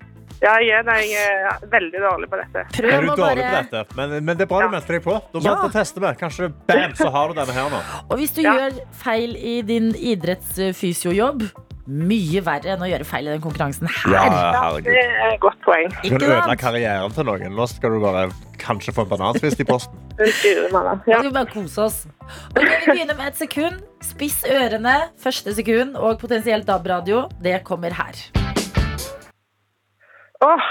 F: Ja, jeg er, det. jeg er veldig dårlig på dette.
B: Prøv
C: Er du
B: å
C: dårlig
B: bare-
C: på dette? Men, men det er bra du
F: Ja.
C: meldte deg på. Da
B: Ja.
C: måtte vi teste med. Kanskje, bam, så har du denne her nå.
B: Og hvis du
F: Ja.
B: gjør feil i din idrettsfysiojobb Mye verre enn å gjøre feil i den konkurransen her.
F: Det er et godt poeng.
C: Du kan
B: Ikke
C: ødela
B: sant?
C: karrieren til noen. Nå skal du bare kanskje få en banansvist i posten.
F: Den styrer meg, da.
B: Nå
F: Ja.
B: skal vi bare kose oss. Ok, Vi begynner med et sekund. Spiss ørene første sekund, og potensielt DAB-radio. Det kommer her.
F: Åh,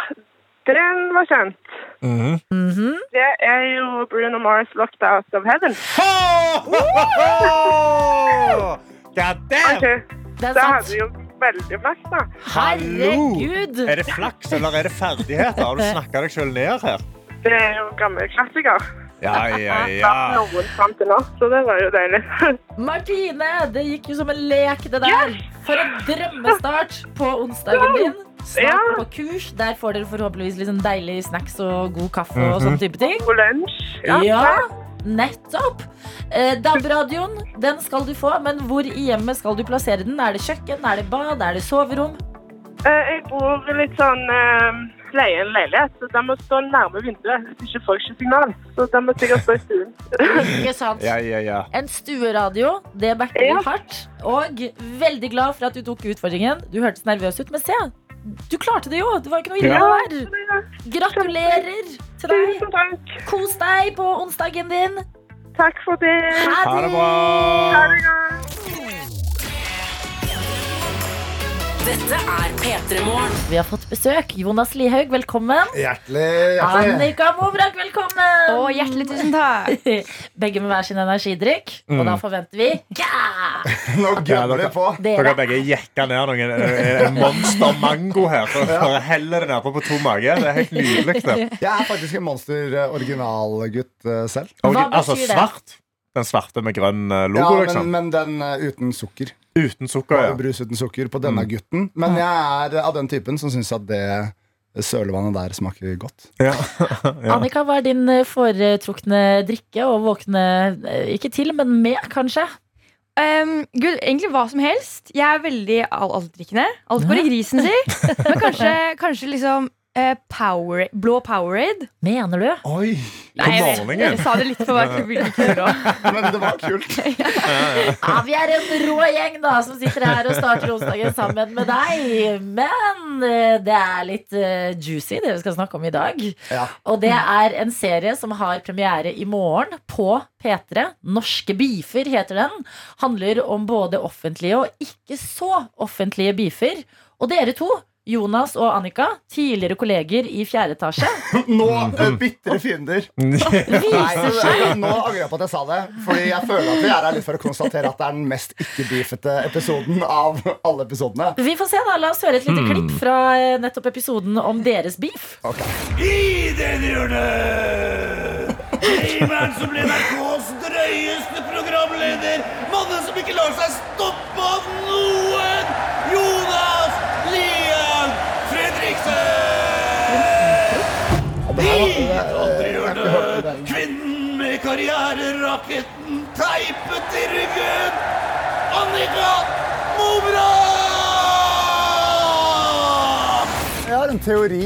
F: den var kjent.
C: Mhm.
B: Mhm.
F: Det er jo Bruno Mars 'Locked Out of Heaven'.
C: God
F: Ok,
C: damn!
B: Det er
F: Da hadde
B: sant.
F: vi jo veldig maks, da.
B: Herregud!
C: Er det flaks, eller er det ferdigheter? Har du snakka deg sjøl ned her?
F: Det er jo gammel klassiker.
C: Ja, ja,
F: Ja.
C: ja.
F: Noen fram til nå, så det var jo deilig.
B: Martine, det gikk jo som en lek, det der. For en drømmestart på onsdagen din.
F: Ja.
B: Snart på kurs. Der får dere forhåpentligvis litt sånn deilig snacks og god kaffe og
C: Mhm.
B: sånn type ting.
F: God lunsj.
B: Ja, nettopp. Eh, DAB-radioen den skal du få, men hvor i hjemmet skal du plassere den? Er det kjøkken, er det bad, er det soverom?
F: Eh, Jeg bor litt sånn eh, leie en leilighet, så da må jeg stå nærme vinduet. Hvis ikke får jeg ikke signal. Så da må jeg sikkert stå i stuen.
B: Ikke sant?
G: Ja, ja, ja.
B: En stueradio, det backer
F: Ja.
B: du hardt. Og veldig glad for at du tok utfordringen. Du hørtes nervøs ut, men se, du klarte det jo. Det var ikke noe ille
G: Ja.
B: der. Gratulerer til deg.
F: Tusen takk.
B: Kos deg på onsdagen din.
F: Takk for det.
G: Ha det bra!
F: Ha det godt.
A: Dette er P3 Morgen.
B: Vi har fått besøk. Jonas Lihaug, velkommen.
H: Hjertelig, hjertelig.
B: Annika Mobrak, velkommen.
I: Å, hjertelig tusen takk.
B: Begge med hver sin energidrikk. Og
H: Mm.
B: da forventer vi ja!
H: Nå gønner det på.
G: Dere
B: dere.
G: har begge jekka ned noen eh, en monstermango her. For for å helle det nedpå på tom mage. Det er helt nydelig. Det.
H: Jeg er faktisk en monster-originalgutt eh, selv.
G: Og,
B: Hva
G: altså
B: betyr det?
G: svart. Den svarte med grønn eh,
H: Ja,
G: logo,
H: men,
G: liksom.
H: men den eh, uten sukker.
G: Uten
H: Bare
G: sukker. Ja. Mm.
H: brus uten sukker på denne gutten. Men jeg er av den typen som syns at det sølevannet der smaker godt.
G: Ja. Ja.
B: Annika, hva er din eh, foretrukne drikke og våkne eh, Ikke til, men med, kanskje?
I: Ehm, Gud, egentlig hva som helst. Jeg er veldig al- altdrikkende. Alt går i grisen, si. Men kanskje, kanskje liksom eh, power, blå Powerade.
B: Mener du?
H: Oi!
G: På
I: Nei, jeg- Jeg
G: morgenen.
I: sa det litt for hvert øyeblikk.
H: Men det var kult.
B: Ja, vi er en rå gjeng da som sitter her og starter onsdagen sammen med deg. Men eh, det er litt eh, juicy, det vi skal snakke om i dag.
H: Ja.
B: Og det er en serie som har premiere i morgen på P3. 'Norske beefer' heter den. Handler om både offentlige og ikke så offentlige beefer. Og dere to, Jonas og Annika, tidligere kolleger i fjerde etasje,
H: Nå eh,
G: Mm.
H: bitre fiender. Nei,
B: viser seg
H: nå angrer jeg på at jeg sa det. Fordi jeg føler at vi er her litt for å konstatere at det er den mest ikke-beefete episoden av alle episodene.
B: Vi får se, da. La oss høre et lite klipp fra eh, nettopp episoden om deres beef.
C: I den hjørnet! Gameren som ble NRKs drøyeste programleder. Mannen som ikke lar seg stoppe av noen. Jonas Lian Fredriksen! I andre hjørnet! Kvinnen med karriereraketten teipet i ryggen. Annika Mobrak!
H: Jeg har en teori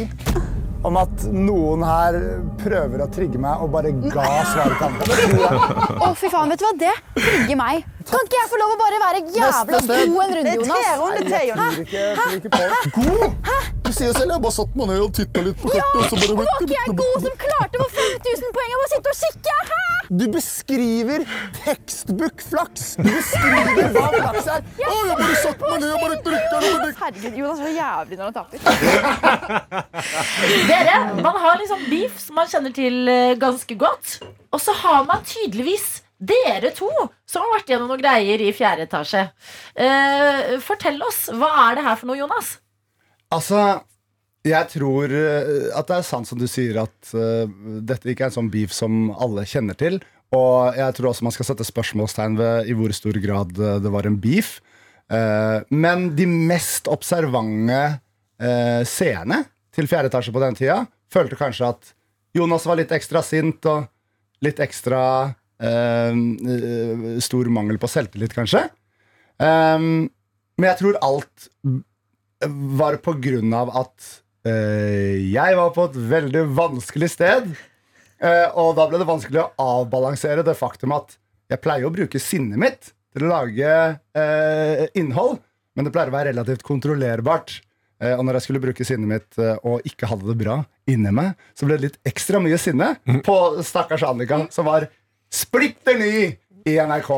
H: om at noen her prøver å trigge meg og bare ga svaret til andre.
I: Å, fy faen, vet du hva? Det trigger meg. Kan ikke jeg få lov å bare være jævla
H: Neste.
I: god en runde, Jonas?
H: tror ikke, tror ikke på det. God! Du sier selv jeg har bare satt meg ned og titta litt på
I: Ja, og var ikke jeg god som klarte å få 5000 poeng av å sitte og kikke? Hæ?
H: Du beskriver tekstbok-flaks. Du beskriver hva flaks er. Å, jeg bare satt meg ned og bare drikka og drikka.
I: Herregud, Jonas er så jævlig når han taper.
B: Dere, Man har liksom beef som man kjenner til eh, ganske godt. Og så har man tydeligvis dere to som har vært gjennom noen greier i fjerde etasje. Eh, fortell oss, hva er det her for noe, Jonas?
H: Altså, jeg tror eh, at det er sant som du sier at eh, dette ikke er en sånn beef som alle kjenner til. Og jeg tror også man skal sette spørsmålstegn ved i hvor stor grad eh, det var en beef. Eh, men de mest observante eh, seerne til fjerde etasje på den tida følte kanskje at Jonas var litt ekstra sint og litt ekstra eh, eh, stor mangel på selvtillit, kanskje. Eh, men jeg tror alt var på grunn av at eh, jeg var på et veldig vanskelig sted. eh, og da ble det vanskelig å avbalansere det faktum at jeg pleier å bruke sinnet mitt til å lage eh, innhold, men det pleier å være relativt kontrollerbart. Eh, og når jeg skulle bruke sinnet mitt eh, og ikke hadde det bra inni meg, så ble det litt ekstra mye sinne på stakkars Annika, som var splitter ny i NRK.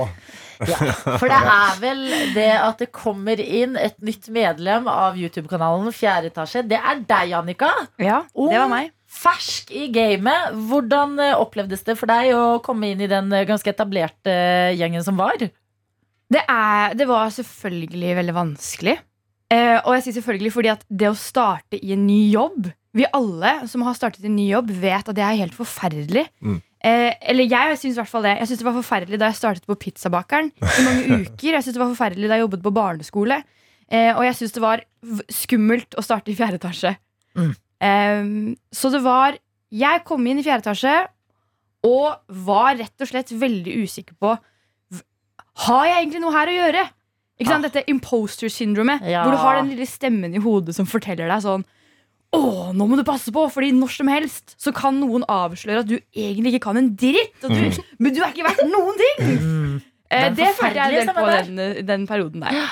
B: For det er vel det at det kommer inn et nytt medlem av YouTube-kanalen Fjerde etasje. Det er deg, Annika.
I: Ja, det var
B: Ung,
I: meg.
B: Fersk i gamet. Hvordan eh, opplevdes det for deg å komme inn i den eh, ganske etablerte eh, gjengen som var?
I: Det, er, det var selvfølgelig veldig vanskelig. Eh, og jeg sier selvfølgelig fordi at det å starte i en ny jobb Vi alle som har startet i en ny jobb, vet at det er helt forferdelig.
G: Mm.
I: Eh, eller jeg syns i hvert fall det. Jeg synes det var forferdelig da jeg startet på Pizzabakeren i mange uker. Jeg synes det var forferdelig da jeg jobbet på barneskole. Eh, og jeg syns det var v- skummelt å starte i fjerde etasje.
B: Mm.
I: Eh, så det var Jeg kom inn i fjerde etasje og var rett og slett veldig usikker på har jeg egentlig noe her å gjøre? Ikke sant? Dette imposter syndromet,
B: Ja.
I: hvor du har den lille stemmen i hodet som forteller deg sånn
J: Åh, nå må du passe på, fordi når som helst så kan noen avsløre at du egentlig ikke kan en dritt. Og du, Men du er ikke verdt noen ting! Eh,
B: Det er
J: det følte jeg en del på
B: forferdelig,
J: den, eh, den perioden der.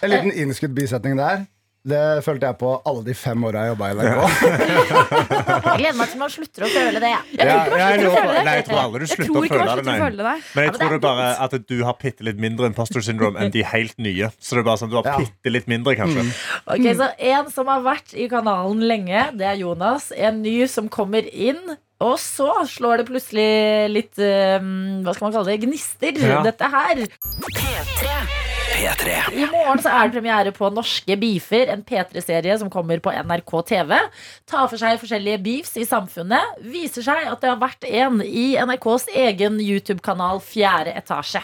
H: En liten innskutt bisetning der. Det følte jeg på alle de fem åra jeg jobba i NRK.
B: Jeg gleder meg til man slutter å føle det. jeg.
C: Ja, ja,
J: slutter
C: jeg,
J: å
C: lurer
J: føle
C: på-
J: det.
C: nei, jeg tror aldri du
J: Jeg
C: slutter
J: tror
C: å
J: ikke man
C: føle det.
J: slutter å
C: Nei.
J: føle det.
C: Men jeg
B: Ja, men det
C: tror det
B: er
C: er bare at du har bitte litt mindre imposter syndrome enn de helt nye. Så det er bare sånn, du har
H: Ja.
C: bitte litt mindre, kanskje.
J: Mm.
B: Ok, Så en som har vært i kanalen lenge, det er Jonas. En ny som kommer inn. Og så slår det plutselig litt eh, hva skal man kalle det, gnister,
C: Ja.
B: dette her.
D: P3
B: I morgen så er det premiere på Norske beefer, en P3-serie som kommer på NRK TV. Tar for seg forskjellige beefs i samfunnet. Viser seg at det har vært en i NRKs egen YouTube-kanal Fjerde etasje.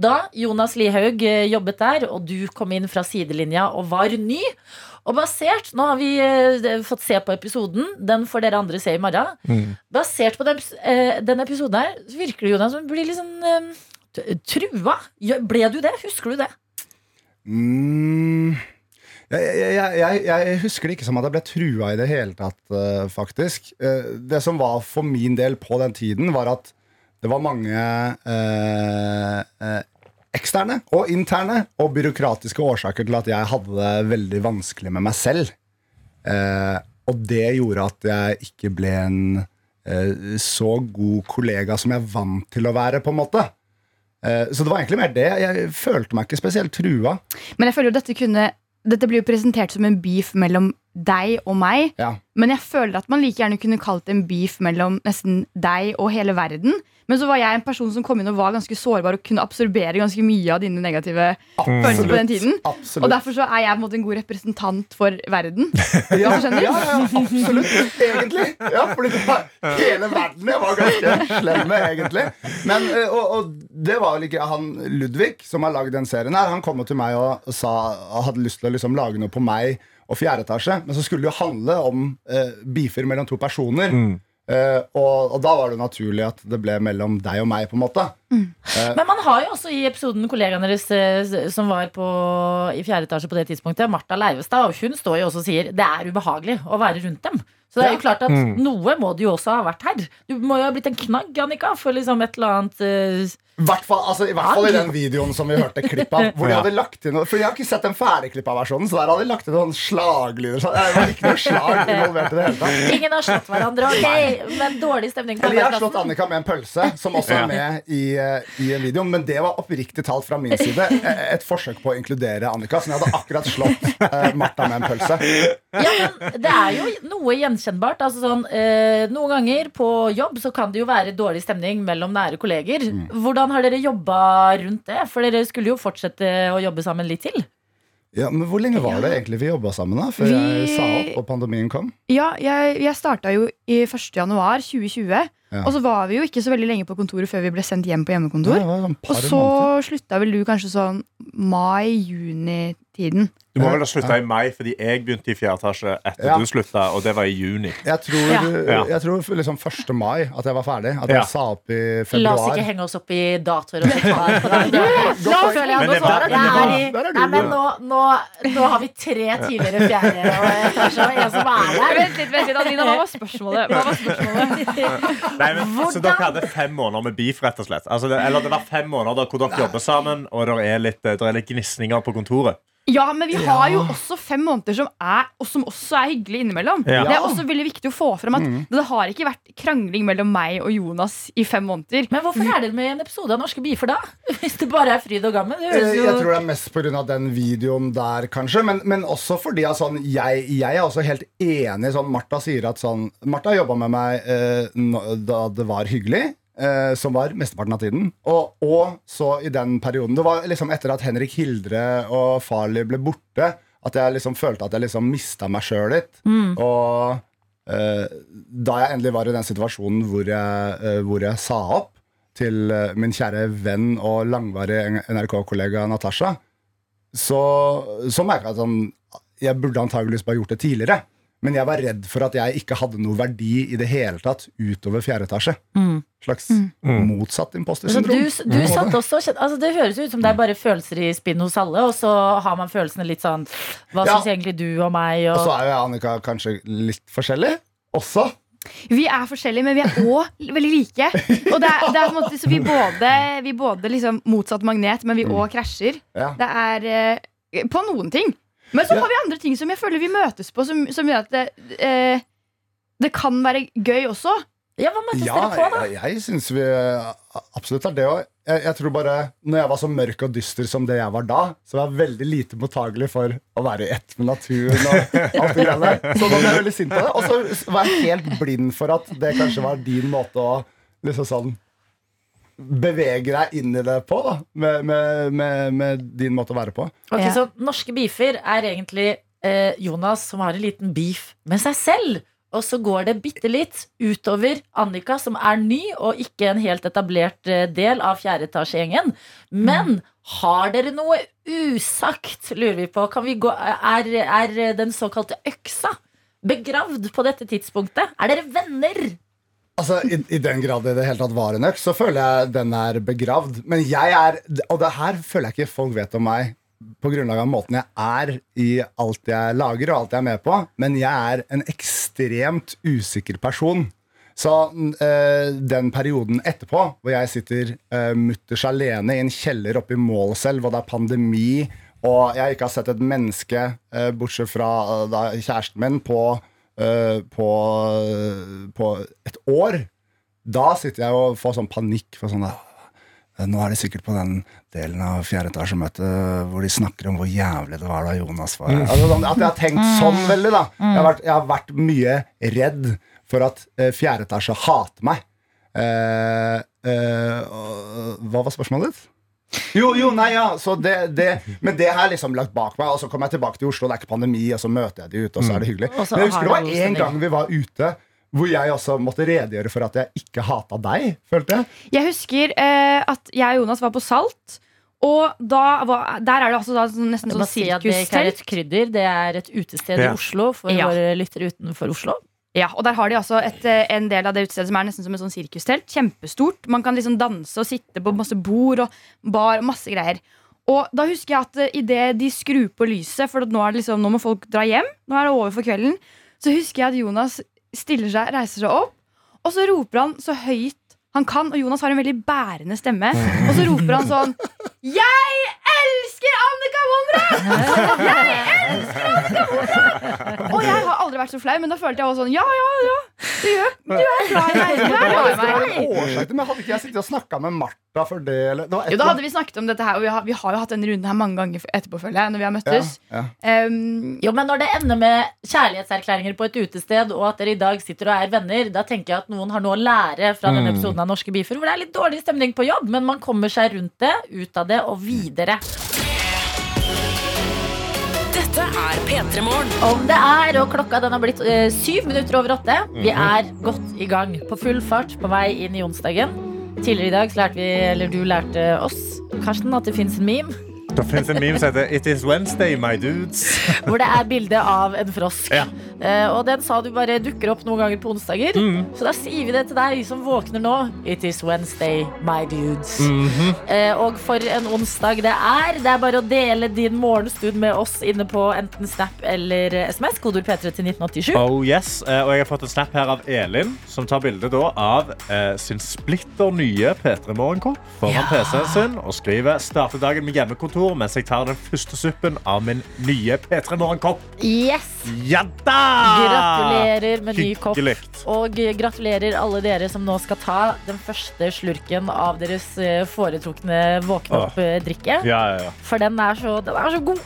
B: Da Jonas Lihaug eh, jobbet der, og du kom inn fra sidelinja og var ny. Og basert, Nå har vi eh, fått se på episoden. Den får dere andre se i morgen. Basert på den, epis- eh, den episoden her, så virker det Jonas, som du blir litt sånn eh, t- trua. Ja, Ble du det? Husker du det?
H: Mm. Jeg, jeg, jeg- jeg, jeg husker det ikke som at jeg ble trua i det hele tatt, eh, faktisk. Eh, det som var for min del på den tiden, var at det var mange eh, eh, eksterne og interne og byråkratiske årsaker til at jeg hadde det veldig vanskelig med meg selv. Eh, og det gjorde at jeg ikke ble en eh, så god kollega som jeg vant til å være, på en måte. Eh, så det var egentlig mer det. Jeg følte meg ikke spesielt trua.
J: Men jeg føler jo dette kunne Dette blir jo presentert som en beef mellom deg og meg.
H: Ja.
J: Men jeg føler at man like gjerne kunne kalt det en beef mellom nesten deg og hele verden. Men så var jeg en person som kom inn og var ganske sårbar og kunne absorbere ganske mye av dine negative følelser på den tiden. Og
H: Absolutt.
J: derfor så er jeg på en måte en god representant for verden.
H: ja,
J: du skjønner?
H: ja, ja, absolutt. Egentlig. Ja, fordi det var hele verden jeg var ganske slem med, egentlig. Men, eh, og, og det var vel ikke han Ludvig som har lagd den serien her. Han kom jo til meg og sa og hadde lyst til å liksom lage noe på meg og fjerde etasje, men så skulle det jo handle om eh, beefer mellom to personer. Eh, og, og da var det jo naturlig at det ble mellom deg og meg, på en måte.
B: Men man har jo også i episoden kollegaen deres eh, som var på, i fjerde etasje på det tidspunktet, Martha Leivestad, og hun står jo også og sier det er ubehagelig å være rundt dem. Så det er jo klart at
H: Mm.
B: noe må det jo også ha vært her. Du må jo ha blitt en knagg, Annika, for liksom et eller annet eh,
H: hvert fall, altså, I hvert fall i den videoen som vi hørte klipp av. Hvor de hadde lakt inn For jeg har ikke sett den ferdigklippa versjonen, så der hadde de lagt inn noen slaglyder. Så det var ikke noe slag involvert i det hele tatt.
B: Ingen har slått hverandre, ok? Men dårlig stemning på
H: Eller jeg har slått
B: arbeidsplassen.
H: Annika med en pølse, som også er med i, eh, i en video. Men det var oppriktig talt fra min side eh, et forsøk på å inkludere Annika. Så jeg hadde akkurat slått eh, Martha med en pølse.
B: Ja, men det er jo noe gjenkjennbart. Altså sånn, eh, noen ganger på jobb så kan det jo være dårlig stemning mellom nære kolleger.
H: Mm.
B: Hvordan har dere jobba rundt det? For dere skulle jo fortsette å jobbe sammen litt til.
H: Ja, Men hvor lenge var det egentlig vi jobba sammen, da? Før jeg
J: Vi-
H: sa opp og pandemien kom?
J: Ja, jeg, jeg starta jo i 1. januar 2020.
H: Ja.
J: Og så var vi jo ikke så veldig lenge på kontoret før vi ble sendt hjem på
H: Ja,
J: hjemmekontor.
H: det var sånn par
J: Og så
H: måneder.
J: slutta vel du kanskje sånn mai-juni-tiden.
C: Du må vel ha slutta i mai, fordi jeg begynte i fjerde etasje etter
H: Ja.
C: du slutta, og det var i juni.
H: Jeg tror,
C: Ja.
H: jeg tror liksom 1. mai at jeg var ferdig. At
C: Ja.
H: jeg sa opp i
B: La oss
H: februar.
B: ikke henge oss opp i datoer og tall. Nå føler jeg
C: Men
B: nå
C: det var-
B: svaret.
C: men
B: Jeg
C: det var-
B: er i-
H: der er du,
B: Nei, men
H: ja.
B: nå, nå, nå har vi tre tidligere fjerde og etasje og en som er der.
J: Vent litt, vent litt, Adelina. Hva var spørsmålet? Hva var spørsmålet?
C: Nei, men, så dere hadde fem måneder med beef, rett og slett? Altså, det, eller det var fem måneder der hvor dere jobber sammen, og det er litt, eh, der er litt gnisninger på kontoret?
J: Ja, men vi har jo også fem måneder som er, og som også er hyggelig innimellom.
C: Ja.
J: Det er også veldig viktig å få fram at
H: Mm.
J: det har ikke vært krangling mellom meg og Jonas i fem måneder.
B: Men hvorfor er dere med i en episode av Norske bifer da? Hvis det bare er fryd og gammen? Det høres
H: Eh, Jeg tror
B: jo
H: det er mest pga. den videoen der, kanskje. Men, men også fordi at sånn, jeg, jeg er også helt enig sånn Martha sier at sånn Martha jobba med meg eh, nå- da det var hyggelig. eh, som var mesteparten av tiden. Og, og så i den perioden. Det var liksom etter at Henrik Hildre og Farley ble borte, at jeg liksom følte at jeg liksom mista meg sjøl litt.
B: Mm.
H: Og eh, da jeg endelig var i den situasjonen hvor jeg, eh, hvor jeg sa opp til eh, min kjære venn og langvarige NRK-kollega Natasha, så, så merka jeg at sånn, jeg burde antageligvis bare gjort det tidligere. Men jeg var redd for at jeg ikke hadde noe verdi i det hele tatt utover fjerde etasje. Slags motsatt
B: Mm. Så Altså, du,
H: imposter-syndrom.
B: du satt også og kjente- altså Det høres ut som det er bare følelser i spinn hos alle, og så har man følelsene litt sånn Hva
H: Ja. Altså,
B: syns egentlig du og meg?
H: Og så
B: Og,
H: er jo jeg og Annika kanskje litt forskjellig også.
I: Vi er forskjellige, men vi er òg veldig like. Og det er, det er på en måte, så vi både, vi både liksom motsatt magnet, men vi òg krasjer.
H: Mm. Ja.
I: Det er eh, på noen ting. Men så
H: Ja.
I: har vi andre ting som jeg føler vi møtes på, som, som gjør at det, eh, det kan være gøy også.
B: ja, hva møttes
H: Ja,
B: dere på, da?
H: jeg, jeg syns vi eh, absolutt er det òg. Jeg, jeg tror bare, når jeg var så mørk og dyster som det jeg var da, så var jeg veldig lite mottagelig for å være i ett med naturen. og alt det greiene. der. Så da ble jeg veldig sint på det. Og så var jeg helt blind for at det kanskje var din måte å liksom sånn bevege deg inn i det på, da. Med, med, med, med din måte å være på.
B: Ok,
I: Ja.
B: Så norske beefer er egentlig eh, Jonas som har en liten beef med seg selv. Og så går det bitte litt utover Annika, som er ny og ikke en helt etablert eh, del av fjerdeetasjegjengen.
I: Mm.
B: Men har dere noe usagt, lurer vi på. Kan vi gå, er, er den såkalte øksa begravd på dette tidspunktet? Er dere venner?
H: Altså, i, I den grad det i det hele tatt var en øks, så føler jeg den er begravd. Men jeg er Og det her føler jeg ikke folk vet om meg på grunnlag av måten jeg er i alt jeg lager og alt jeg er med på, men jeg er en ekstremt usikker person. Så eh, den perioden etterpå, hvor jeg sitter eh, mutters alene i en kjeller oppe i Målselv, og det er pandemi, og jeg ikke har sett et menneske, eh, bortsett fra eh, da, kjæresten min, på, eh, på, eh, på et år, da sitter jeg og får sånn panikk. For sånn, «Åh, nå er de sikkert på den delen av fjerde etasje-møtet hvor de snakker om hvor jævlig det var da Jonas var her.
B: Mm.
H: Altså, sånn at jeg har tenkt sånn veldig, da. Jeg har vært, jeg har vært mye redd for at eh, fjerde etasje hater meg. Eh, eh, og- hva var spørsmålet ditt? Jo, jo, nei, ja. Så det, det, men det har jeg liksom lagt bak meg. Og så kommer jeg tilbake til Oslo, det er ikke pandemi, og så møter jeg de ute, og så er det hyggelig.
B: Mm. Og så
H: Men jeg husker det
B: har
H: var
B: det god
H: en gang vi var ute hvor jeg også måtte redegjøre for at jeg ikke hata deg, følte jeg.
I: Jeg husker eh, at jeg og Jonas var på Salt. Og da var, der er det altså da sånn, nesten
B: Bare
I: sånn
B: si at det ikke er
I: sirkustelt.
B: et krydder, det er et utested i
C: Ja.
B: Oslo for
I: Ja.
B: våre lyttere utenfor Oslo.
I: Ja, og der har de altså et, eh, en del av det utestedet som er nesten som et sånn sirkustelt. Kjempestort. Man kan liksom danse og sitte på masse bord og bar og masse greier. Og da husker jeg at eh, i idet de skrur på lyset, for at nå, er det liksom, nå må folk dra hjem, nå er det over for kvelden, så husker jeg at Jonas stiller seg, reiser seg opp, og så roper han så høyt han kan, og Jonas har en veldig bærende stemme, og så roper han sånn Jeg elsker Annika Monrad! Jeg elsker Annika Monrad! Og jeg har aldri vært så flau, men da følte jeg også sånn Ja, ja, ja. Du gjør, du er glad i meg. Du er glad i
H: Det var
I: meg.
H: en årsak til, men Hadde ikke jeg sittet og snakka med Martha for det? Eller? det var et
I: Jo, da hadde
H: eller
I: vi snakket om dette her, og vi har, vi har jo hatt denne runden her mange ganger etterpå, føler jeg, når vi har møttes.
H: annet. ja, ja.
I: Um,
B: Jo, men Når det ender med kjærlighetserklæringer på et utested, og at dere i dag sitter og er venner, da tenker jeg at noen har noe å lære fra denne episoden av Norske beefer, hvor det er litt dårlig stemning på jobb, men man kommer seg rundt det, ut av det og videre.
A: Dette er P3 Morgen.
B: Om det er, og klokka den har blitt eh, syv minutter over åtte, vi er godt i gang. På full fart på vei inn i onsdagen. Tidligere i dag så lærte vi, eller du lærte oss, Karsten, at det fins en meme
C: Det fins en meme som heter It is Wednesday, my dudes.
B: hvor det er bilde av en frosk.
C: Ja.
B: Eh, og den sa du bare dukker opp noen ganger på onsdager.
C: Mm.
B: Så da sier vi det til deg som våkner nå. It is Wednesday, my dudes.
C: Mm.
J: Mhm.
B: eh, og for en onsdag det er. Det er bare å dele din morgenstund med oss inne på enten Snap eller SMS. Kodord P3 til 1987.
C: Oh yes, eh, og jeg har fått en snap her av Elin, som tar bilde da av eh, sin splitter nye P3 Morgenkopp foran PC-en sin og skriver starter dagen med hjemmekontor mens jeg tar den første suppen av min nye P3 Morgenkopp.
B: Yes!
C: Ja da!
B: Gratulerer med ny kopp.
C: Ah, Hyggelig.
B: Og gratulerer alle dere som nå skal ta den første slurken av deres eh, foretrukne våkne
C: Åh.
B: opp-drikke.
C: Ah. Ja, ja, ja.
B: For den er så, den er så god.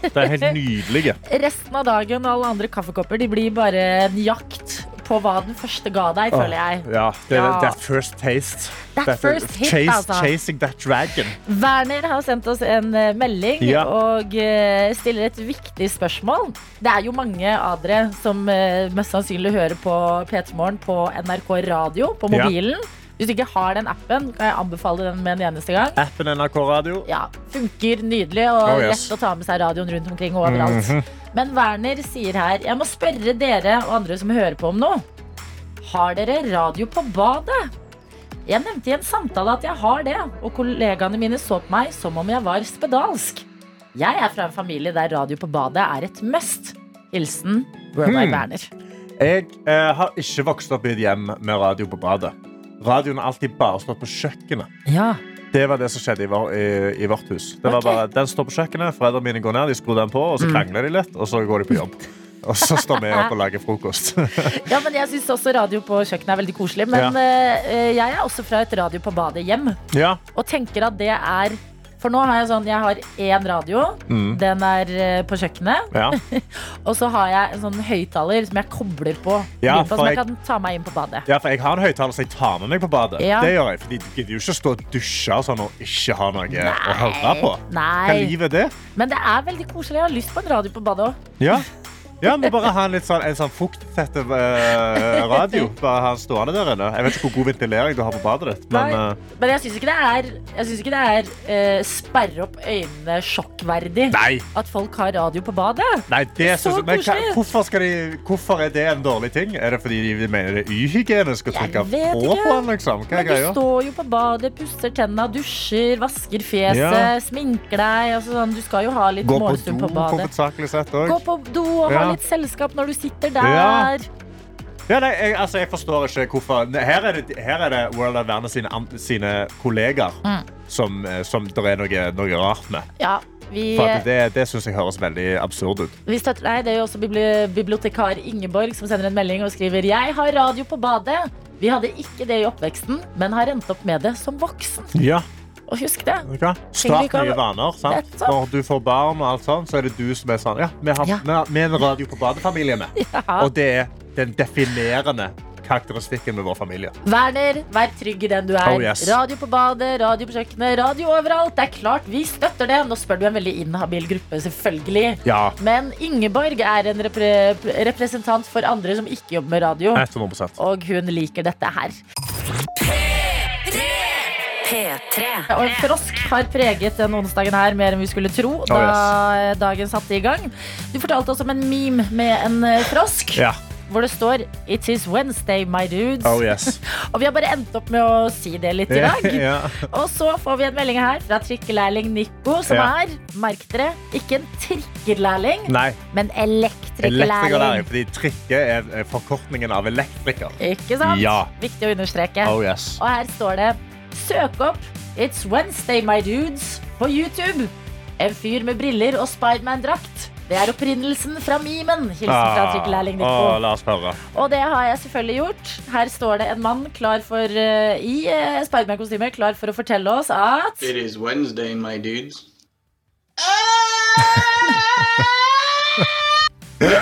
C: Det er helt nydelig.
B: Resten av dagen og alle andre kaffekopper De blir bare en jakt på hva den første ga
C: Ah.
B: deg, føler jeg.
C: Ja, det er
B: Ja.
C: that first taste.
B: That first hit,
C: chase,
B: altså.
C: Chasing that dragon.
B: Werner har sendt oss en eh, melding
C: Ja.
B: og eh, stiller et viktig spørsmål. Det er jo mange av dere som eh, mest sannsynlig hører på P3 Morgen på NRK Radio på
C: Ja.
B: mobilen. Hvis du ikke har den appen, kan jeg anbefale den med en eneste gang.
C: Appen NRK Radio.
B: Ja, Funker nydelig og
C: Oh, yes. Mhm.
B: lett å ta med seg radioen rundt omkring og overalt. Men Werner sier her Jeg må spørre dere og andre som hører på om noe. Har dere radio på badet? Jeg nevnte i en samtale at jeg har det, og kollegaene mine så på meg som om jeg var spedalsk. Jeg er fra en familie der radio på badet er et must. Hilsen Worldwide
C: Hmm.
B: Werner.
C: Jeg eh, har ikke vokst opp i et hjem med radio på badet. Radioen har alltid bare stått på kjøkkenet.
B: Ja.
C: Det var det som skjedde i, vår, i, i vårt hus. Det var
B: Ok. Mm.
C: bare, Den står på kjøkkenet, foreldrene mine går ned, de skrur den på, og så krangler de litt, og så går de på jobb. Og så står vi opp og lager frokost.
B: Ja, men Jeg syns også radio på kjøkkenet er veldig koselig. Men
C: Ja.
B: eh, jeg er også fra et radio på badet hjem.
C: ja.
B: Og tenker at det er For nå har jeg sånn Jeg har én radio.
C: Mm.
B: Den er eh, på kjøkkenet.
C: ja.
B: Og så har jeg en sånn høyttaler som jeg kobler på.
C: Ja,
B: lyden,
C: for
B: som jeg
C: jeg-
B: kan ta meg inn på badet.
C: Ja, for jeg har en høyttaler som jeg tar med meg på badet.
B: Ja.
C: Det gjør jeg, fordi Du gidder jo ikke å stå og dusje og sånn og ikke ha noe å høre på. Hva
B: Nei,
C: liv er det?
B: Men det er veldig koselig. Jeg har lyst på en radio på badet òg.
C: Ja. ja, men bare ha en litt sånn, en sånn fukttett eh, radio. Bare ha den stående der inne. Jeg vet ikke hvor god ventilering du har på badet ditt,
B: Nei.
C: men eh,
B: Men jeg syns ikke det er, jeg synes ikke det er eh, sperre opp øynene sjokkverdig
C: Nei,
B: at folk har radio på badet.
C: nei det
B: er så
C: synes jeg- men hva-
B: koselig.
C: hvorfor, skal de, hvorfor er det en dårlig ting? Er det fordi de mener det er uhygienisk å
B: Jeg
C: trykke
B: vet
C: på
B: ikke.
C: på den? Liksom? Hva
B: Men
C: er
B: du
C: greia?
B: står jo på badet, pusser tenna, dusjer, vasker fjeset,
C: Ja.
B: sminker deg. Altså sånn, du skal jo ha litt
C: Gå på do,
B: morgenstund på, badet.
C: hovedsakelig sett
B: Gå
C: òg.
B: på do og ha
C: Ja.
B: litt selskap når du sitter
C: Ja.
B: der.
C: Ja, nei, jeg, altså, jeg forstår ikke hvorfor Nei, Her er det, her er det World of Werner sine, an- sine kollegaer
B: Mm.
C: som, eh, som det er noe, noe rart med.
B: Ja, vi,
C: For at det det syns jeg høres veldig absurd ut.
B: vi støtter deg. Det er jo også bibli- bibliotekar Ingeborg som sender en melding og skriver Jeg har radio på badet. Vi hadde ikke det i oppveksten, men har endt opp med det som voksen.
C: Ja,
B: Og husk det.
C: vet du hva? Start
B: ikke om-
C: nye vaner. Sant?
B: Nettopp.
C: Når du får barn, og alt sånt, så er det du som er sånn Ja, vi har,
B: Ja.
C: vi har, vi er en radio på badefamilie med.
B: Ja.
C: Og det er den definerende karakteristikken med vår familie.
B: Werner, vær trygg i den du er.
C: Oh, yes.
B: Radio på badet, radio på kjøkkenet, radio overalt. Det er klart vi støtter det. Nå spør du en veldig inhabil gruppe, selvfølgelig.
C: Ja,
B: Men Ingeborg er en repre representant for andre som ikke jobber med radio.
C: 100
B: Og hun liker dette her.
A: P3.
B: Og en frosk har preget den onsdagen her mer enn vi skulle tro.
C: Oh,
B: Da dagen satte i gang Du fortalte oss om en meme med en eh, frosk.
C: Ja.
B: Hvor det står 'It is Wednesday, my dudes'.
C: Oh yes.
B: Og vi har bare endt opp med å si det litt i dag.
C: Ja.
B: Og så får vi en melding her fra trikkelærling Nico, som
C: Ja.
B: er, merk dere, ikke en trikkelærling,
C: Nei,
B: men
C: elektrikerlæring.
B: elektrikerlærling.
C: Fordi trikke er er forkortningen av elektriker.
B: Ikke sant?
C: Ja.
B: Viktig å understreke.
C: Oh yes.
B: Og her står det Søk opp It's Wednesday, my dudes på YouTube. En fyr med briller og Spiderman-drakt. Det er opprinnelsen fra memen. Hilsen fra
C: Ah,
B: trikkelærling
C: å,
B: Nico.
C: la oss høre.
B: Og det har jeg selvfølgelig gjort. Her står det en mann klar for, eh, i uh, Spiderman-kostyme klar for å fortelle oss at
D: It is Wednesday, my dudes.
B: Og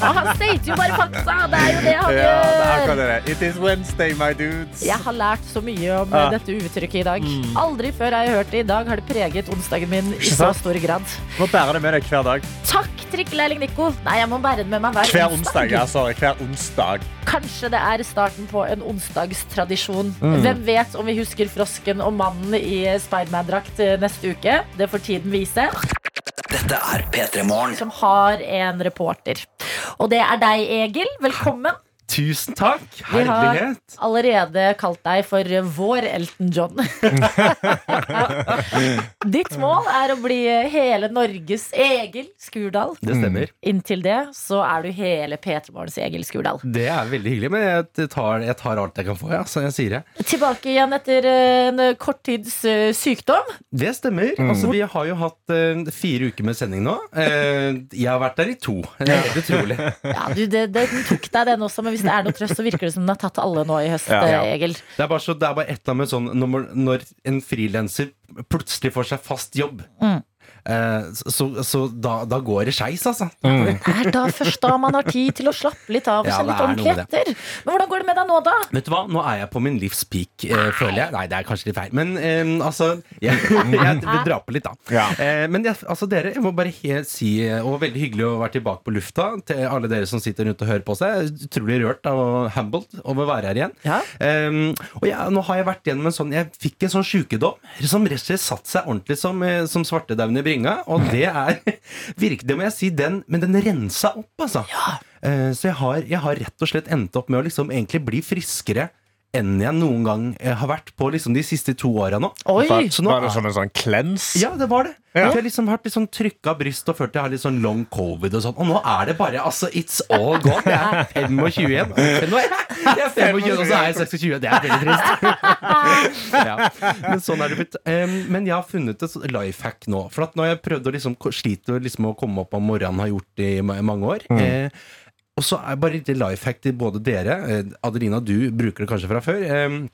B: Ah, han stater jo bare fakta! Det er jo det han
C: Ja, her
B: gjør.
C: kan dere. It is Wednesday, my dudes.
B: Jeg har lært så mye om
C: Ja.
B: eh, dette uttrykket i dag. Aldri før har jeg hørt det. I dag har det preget onsdagen min i
C: Mm. Ikke
B: så
C: sant?
B: stor grad.
C: Må bære det med deg hver dag.
B: Takk, trikkelærling Nico. Nei, jeg må bære den med meg hver,
C: Hver onsdag. Ja, sorry. Hver onsdag.
B: Kanskje det er starten på en onsdagstradisjon.
C: Mm.
B: Hvem vet om vi husker frosken og mannen i Spiderman-drakt eh, neste uke? Det får tiden vise.
D: Dette er P3 Morgen.
B: Som har en reporter. Og det er deg, Egil. Velkommen.
I: Tusen takk.
B: Vi har
I: Herlighet.
B: allerede kalt deg for eh, vår Elton John. Ditt mål er å bli hele Norges Egil Skurdal.
I: Det stemmer.
B: Inntil det så er du hele P3 Morgens Egil Skurdal.
I: Det er veldig hyggelig, men jeg tar, jeg tar alt jeg kan få, ja. Så jeg sier det.
B: Tilbake igjen etter eh, en kort tids eh, sykdom.
I: Det stemmer. Altså, vi har jo hatt eh, fire uker med sending nå. Eh, jeg har vært der i to. Det er helt utrolig.
B: Ja, du, det, det, den tok deg den også, men hvis det er noe trøst, så virker det som den har tatt alle nå i høst,
C: Ja.
B: eh, Egil.
I: Det er bare, så, det er bare et eller annet med sånn når, man- når en frilanser plutselig får seg fast jobb. Eh, så så da, da går det skeis, altså.
B: Det er da først da man har tid til å slappe litt av og
I: Ja,
B: se litt
I: det er
B: ordentlig
I: noe med det.
B: etter. Men hvordan går det med deg nå, da?
I: Vet du hva, nå er jeg på min livs peak, eh, føler jeg. Nei, det er kanskje litt feil, men eh, altså Jeg, jeg vil dra på litt, da. Eh, men jeg, altså, dere, jeg må bare helt si eh, Og veldig hyggelig å være tilbake på lufta til alle dere som sitter rundt og hører på oss. Jeg er utrolig rørt og humbled over å være her igjen. Eh, og jeg, nå har jeg vært gjennom en sånn Jeg fikk en sånn sjukedom som rett og slett satte seg ordentlig som, eh, som svartedauden i bringa, og
C: Mm.
I: det er virk, Det må jeg si, den Men den rensa opp, altså. Eh, Så jeg har, jeg har rett og slett endt opp med å liksom egentlig bli friskere enn jeg noen gang eh, har vært på liksom de siste to åra nå. Så nå
C: Var det
I: er-
C: som en sånn klens?
I: ja, det var det.
C: Ja.
I: For Jeg har liksom vært litt sånn trykka bryst og følt jeg har litt sånn long covid og sånn. Og nå er det bare altså It's all gone. Jeg er 25 igjen. Nå er jeg, jeg er 25, og så er jeg 26. Det er veldig trist. Ja. Men sånn er det blitt. Em, Men jeg har funnet et life hack nå. For at når jeg prøvde å liksom sliter liksom å komme opp om morgenen, har gjort det i ma- mange år. eh, Og så er bare litt life hack til både dere. eh, Adelina, du bruker det kanskje fra før. em,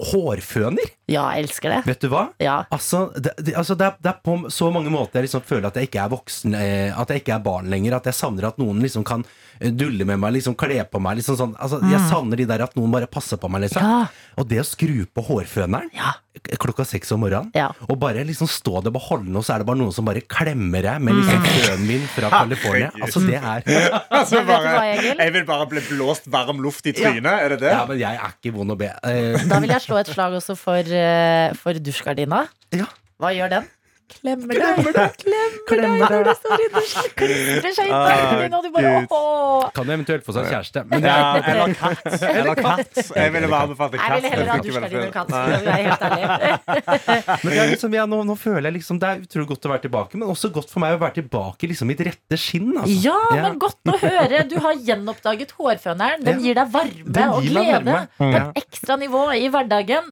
I: Hårføner.
B: Ja, jeg elsker det.
I: Vet du hva?
B: Ja.
I: Altså, det, det, altså det, er, det er på så mange måter jeg liksom føler at jeg ikke er voksen, eh, at jeg ikke er barn lenger. At jeg savner at noen liksom kan eh, dulle med meg, liksom kle på meg. Liksom sånn. altså, Jeg savner de der at noen bare passer på meg. Liksom.
B: Ja.
I: Og det å skru på hårføneren k- klokka seks om morgenen,
B: Ja.
I: og bare liksom stå der og holde den, og så er det bare noen som bare klemmer deg med liksom fønen min fra California. Altså, det er
C: Altså,
B: Men vet du
C: bare,
B: hva, Egil?
C: jeg vil bare bli blåst varm luft i trynet. Er det det?
I: Ja, men jeg er ikke vond å be. Eh,
B: Da vil jeg slå et slag også for, eh, for dusjgardina.
I: Ja.
B: Hva gjør den? Klemmer deg. Klemmer deg når du står innerst. Klistrer seg i taket, og du bare
C: Gud.
B: åh.
I: kan jo eventuelt få seg kjæreste, men det
C: Ja,
I: er
C: eller katt. Eller katt. Jeg ville bare anbefalt en
I: Ah,
B: Jeg
C: katt.
B: ville heller ha
C: Jeg fikk ikke
B: dusjgardin
C: veldig
B: enn katt. skal jeg være helt ærlig.
I: Men det er liksom, ja, nå, nå føler jeg liksom Det er utrolig godt å være tilbake, men også godt for meg å være tilbake i liksom, mitt rette skinn. Altså.
B: Ja, men godt å høre. Du har gjenoppdaget hårføneren. Den gir deg varme
I: Den
B: og
I: gir meg
B: glede
I: varme.
B: på
H: Mm.
I: Ja.
B: et ekstra nivå i hverdagen.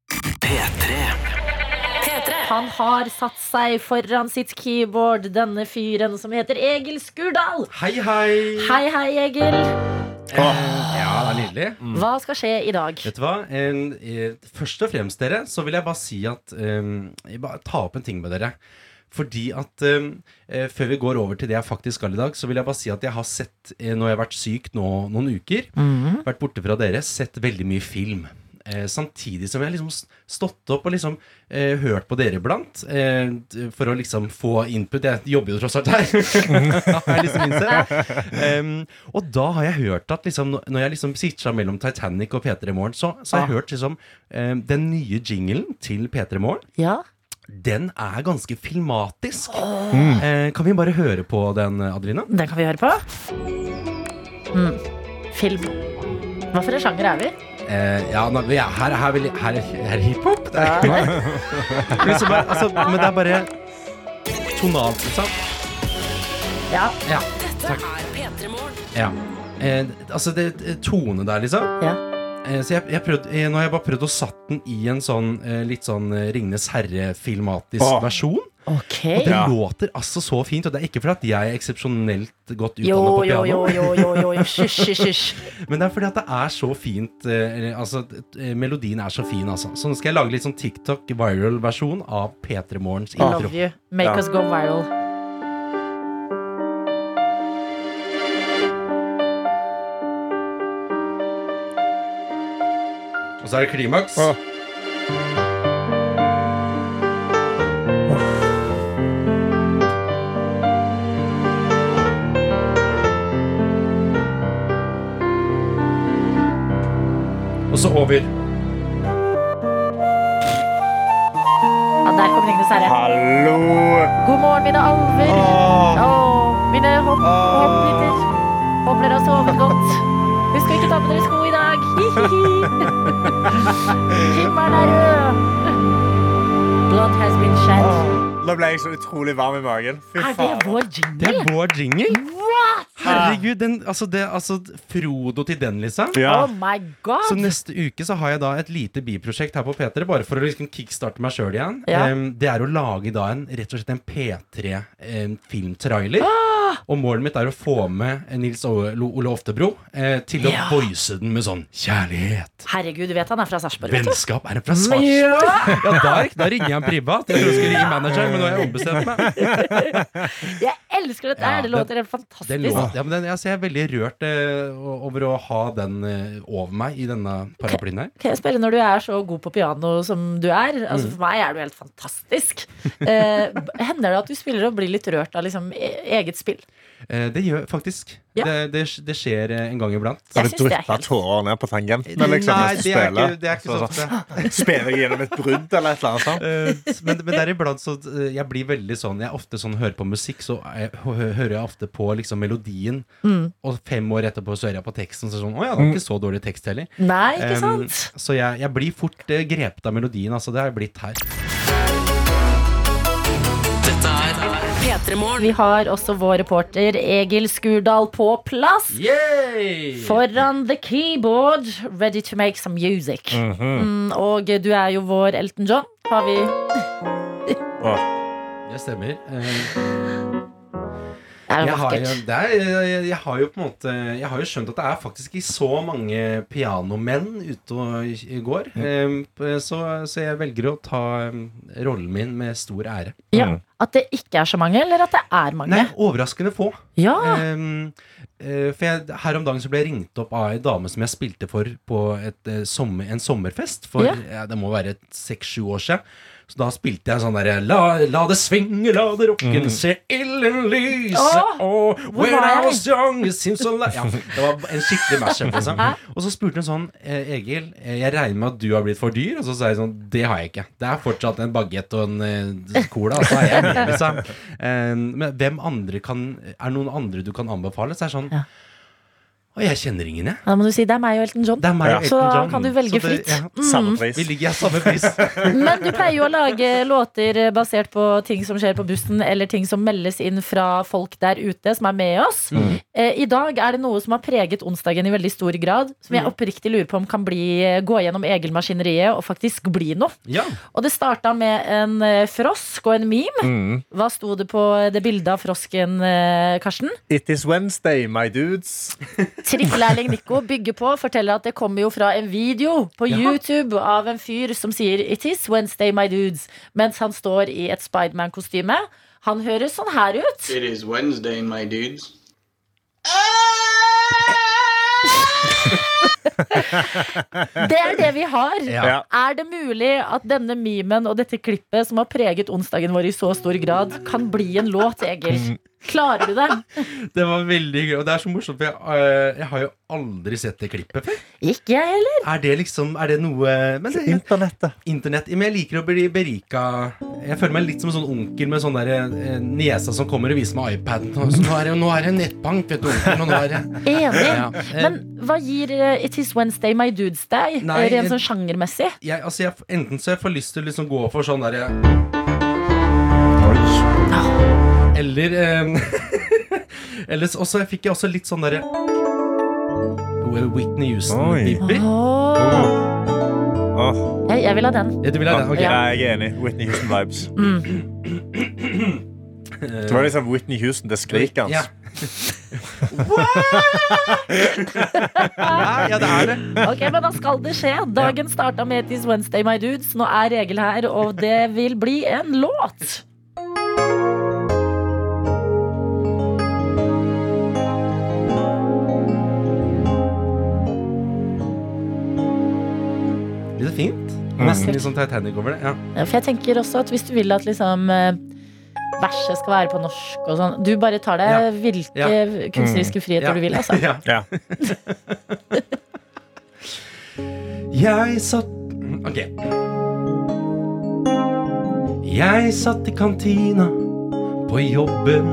A: P3.
B: Han har satt seg foran sitt keyboard, denne fyren som heter Egil Skurdal.
I: Hei, hei!
B: Hei, hei, Egil.
I: Ja, det er nydelig.
B: Hva skal skje i dag?
I: Vet du hva? En, eh, først og fremst, dere, så vil jeg bare si at eh, jeg bare Ta opp en ting med dere. Fordi at eh, eh, Før vi går over til det jeg faktisk skal i dag, så vil jeg bare si at jeg har sett, eh, når jeg har vært syk nå noen uker, vært borte fra dere, sett veldig mye film. Eh, samtidig som jeg har liksom s- stått opp og liksom eh, hørt på dere iblant, eh, d- for å liksom få input. Jeg jobber jo tross alt her. har jeg liksom innsett. Em, og da har jeg hørt at liksom, når- når jeg liksom sitter mellom Titanic og P3 Morgen, så, så har jeg hørt liksom em, den nye jinglen til P3 Morgen.
B: Ja,
I: Den er ganske filmatisk. Eh, kan vi bare høre på den, Adelina?
B: den kan vi høre på. Mm. Film. Hva for en sjanger er vi?
I: Eh, ja, nå- ja, her, her, vil jeg- her, her er hiphop. Det er Liksom bare, altså, men det er bare tonalt, liksom.
B: Ja,
I: Ja.
A: Dette er P3 Morgen.
I: ja. Eh, altså, det er tone der, liksom.
B: Ja.
I: Eh, så jeg, jeg prøvd, eh, nå har jeg bare prøvd å satt den i en sånn eh, litt sånn eh, Ringnes herre-filmatisk
C: Åh.
I: versjon.
B: ok.
I: Og det låter altså så fint, og det er ikke fordi at jeg er eksepsjonelt godt
B: Jo,
I: utdannet på
B: jo,
I: piano.
B: jo, jo, jo, jo, jo. Hysj, hysj, hysj.
I: Men det er fordi at det er så fint eh, eller, Altså, eh, melodien er så fin, altså. Så nå skal jeg lage litt sånn TikTok-viral-versjon av P3 Morgens intro.
B: Love you. Make us go viral.
I: Og så er det klimaks.
C: Åh.
I: Og så over.
B: Ja, der kom Ringnes
C: Ah.
B: herre.
C: Hallo!
B: God morgen, mine alver.
C: Åh.
B: Åh, mine hopp, hoppbitter. Håper dere har sovet godt. Husk å ikke ta på dere sko i dag. Hihihi. Himmelen er rød. Blood has been shed.
C: Nå ble jeg så utrolig varm i magen.
B: Er det
C: Ah, Fy faen.
B: vår
I: Det er
B: jingle?
I: vår jingle. Herregud, den, altså, det, altså Frodo til den, liksom.
C: Ja.
B: Oh my
I: Så
B: god.
I: neste uke så har jeg da et lite biprosjekt her på P3, bare for å liksom kickstarte meg sjøl igjen.
B: Ja.
I: Em, det er å lage da en, rett og slett en P3-filmtrailer.
B: Ah!
I: Og målet mitt er å få med Nils Ole Ole Oftebro eh, til å
B: Ja.
I: voice den med sånn kjærlighet.
B: Herregud, du vet han er fra Sarpsborg. vet du.
I: Vennskap er det fra Svarstad? Ja, da, da ringer jeg en privat. Jeg trodde jeg skulle ringe manageren, men nå har jeg ombestemt meg.
B: Jeg elsker dette! her,
I: Ja,
B: det låter
I: den-
B: helt fantastisk.
I: Den låten, ja, men den, altså, jeg er veldig rørt eh, over å ha den eh, over meg i denne paraplyen her.
B: Kan jeg spille når du er så god på piano som du er? Altså
I: Mm.
B: For meg er du helt fantastisk. Eh, b- hender det at du spiller og blir litt rørt av liksom e eget spill?
I: Eh, det gjør faktisk.
B: Ja.
I: Det, det, det skjer eh, en gang iblant.
B: Jeg Har du synes det er
C: Da tårer ned på tangenten. Liksom,
I: Nei,
C: mens du
I: det er
C: spiller.
I: ikke- det er ikke så ofte.
C: Spiller jeg gjennom et brudd eller et eller annet sånt?
I: Eh, men, men der iblant så eh, Jeg blir veldig sånn Jeg er ofte sånn hører på musikk, så jeg, hø- hører jeg ofte på liksom melodien.
B: Mm.
I: Og fem år etterpå så hører jeg på teksten, så er det sånn Å ja, det var ikke så dårlig tekst heller.
B: Nei, ikke
I: Eh,
B: sant?
I: så jeg, jeg blir fort eh, grepet av melodien. Altså, det har jeg blitt her.
A: Dette er P3morgen.
B: Vi har også vår reporter Egil Skurdal på plass. Foran the keyboard, ready to make some music.
I: Mhm.
B: Mm, og du er jo vår Elton John, har vi.
I: Det stemmer. Eh,
B: Er det
I: jeg har, jo,
B: vakkert?
I: det er, jeg, jeg har jo på en måte Jeg har jo skjønt at det er faktisk ikke så mange pianomenn ute og i går. Eh, Så, så jeg velger å ta eh, rollen min med stor ære.
B: Ja. At det ikke er så mange, eller at det er mange?
I: Nei, overraskende få.
B: Ja.
I: Ehm, eh, for jeg, her om dagen så ble jeg ringt opp av ei dame som jeg spilte for på et, eh, sommer, en sommerfest for
B: Ja.
I: ja, det må være seks-sju år siden. Så da spilte jeg sånn derre la, la det svinge, la det rocken, se ilden lyse
B: Åh,
I: oh,
B: hvor
I: When
B: var
I: I
B: jeg?
I: was young, it seems so li-" ja, Det var en skikkelig mashup. Liksom. Og så spurte hun sånn eh, Egil, eh, jeg regner med at du har blitt for dyr? Og så sa jeg sånn Det har jeg ikke. Det er fortsatt en bagett og en eh, cola. Altså, jeg er med, liksom. Eh, men hvem andre kan Er det noen andre du kan anbefale? Så er det sånn Å, jeg kjenner ingen, jeg.
B: Da må du si det er meg og Elton John.
I: Det er meg og
B: Så
I: Elton
B: da
I: John.
B: kan du velge
I: Så det-
B: fritt. Mm.
I: ja.
C: Samme pris.
I: Vi ligger i samme pris.
B: Men du pleier jo å lage låter eh, basert på ting som skjer på bussen, eller ting som meldes inn fra folk der ute som er med oss.
I: Mm.
B: Eh, I dag er det noe som har preget onsdagen i veldig stor grad, som
I: Mm.
B: jeg oppriktig lurer på om kan bli, eh, gå gjennom Egil-maskineriet og faktisk bli noe.
I: Ja.
B: Og det starta med en eh, frosk og en meme. Hva sto det på eh, det bildet av frosken, eh, Karsten?
C: It is Wednesday, my dudes.
B: Trikkelærling Nico bygger på forteller at det kommer jo fra en video på
I: Jaha.
B: YouTube av en fyr som sier 'It is Wednesday, my dudes', mens han står i et Spiderman-kostyme. Han høres sånn her ut.
D: It is Wednesday, my dudes.
B: Det er det vi har.
I: Ja.
B: Er det mulig at denne memen og dette klippet som har preget onsdagen vår i så stor grad, kan bli en låt, Egil? Klarer du det?
I: Det var veldig gøy. Og det er så morsomt, for jeg, eh, jeg har jo aldri sett det klippet før.
B: Ikke jeg heller.
I: Er det liksom Er det noe men det,
C: Internettet.
I: Internett Men jeg liker å bli berika Jeg føler meg litt som en sånn onkel Med sånn der eh, niesa som kommer og viser meg iPaden og så, nå, er det, nå er det nettbank, vet du onkel og nå er det,
B: Enig.
I: ja. Eh,
B: Men hva gir eh, 'It is Wednesday, my dudes' deg,
I: Nei,
B: rent
I: eh,
B: sånn sjangermessig?
I: jeg, altså, jeg, Enten så jeg får lyst til å liksom gå for sånn der Eller eh, Eller så- også, jeg fikk jeg også litt sånn der Whitney
C: Oi.
I: Houston-bipper
B: Åh,
C: Åh,
B: jeg, jeg vil ha den.
I: Du vil ha den? Ok.
C: ja, jeg er enig. Whitney Houston-vibes. Det var liksom Whitney Houston, det skriket hans.
I: Ja. Nei, ja, det er det.
B: Ok, men da skal det skje. Dagen starta med It is Wednesday, my dudes. Nå er regel her, og det vil bli en låt.
I: Litt fint.
B: Mm.
I: Nesten litt sånn Titanic over det. Ja.
B: Ja, For jeg tenker også at hvis du vil at liksom eh, verset skal være på norsk og sånn Du bare tar deg
I: Ja.
B: hvilke
I: Ja. Mm.
B: kunstneriske friheter
I: Ja.
B: du vil, altså.
I: Ja.
C: Ja.
I: Jeg satt Mm, Ok. Jeg satt i kantina på jobben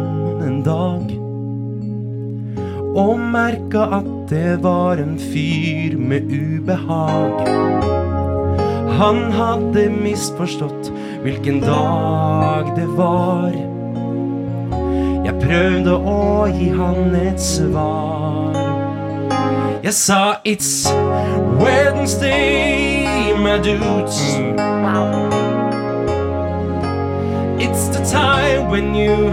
I: en dag. Og merka at det var en fyr med ubehag. Han hadde misforstått hvilken dag det var. Jeg prøvde å gi han et svar. Jeg sa it's Wednesday, my dudes. It's the time when you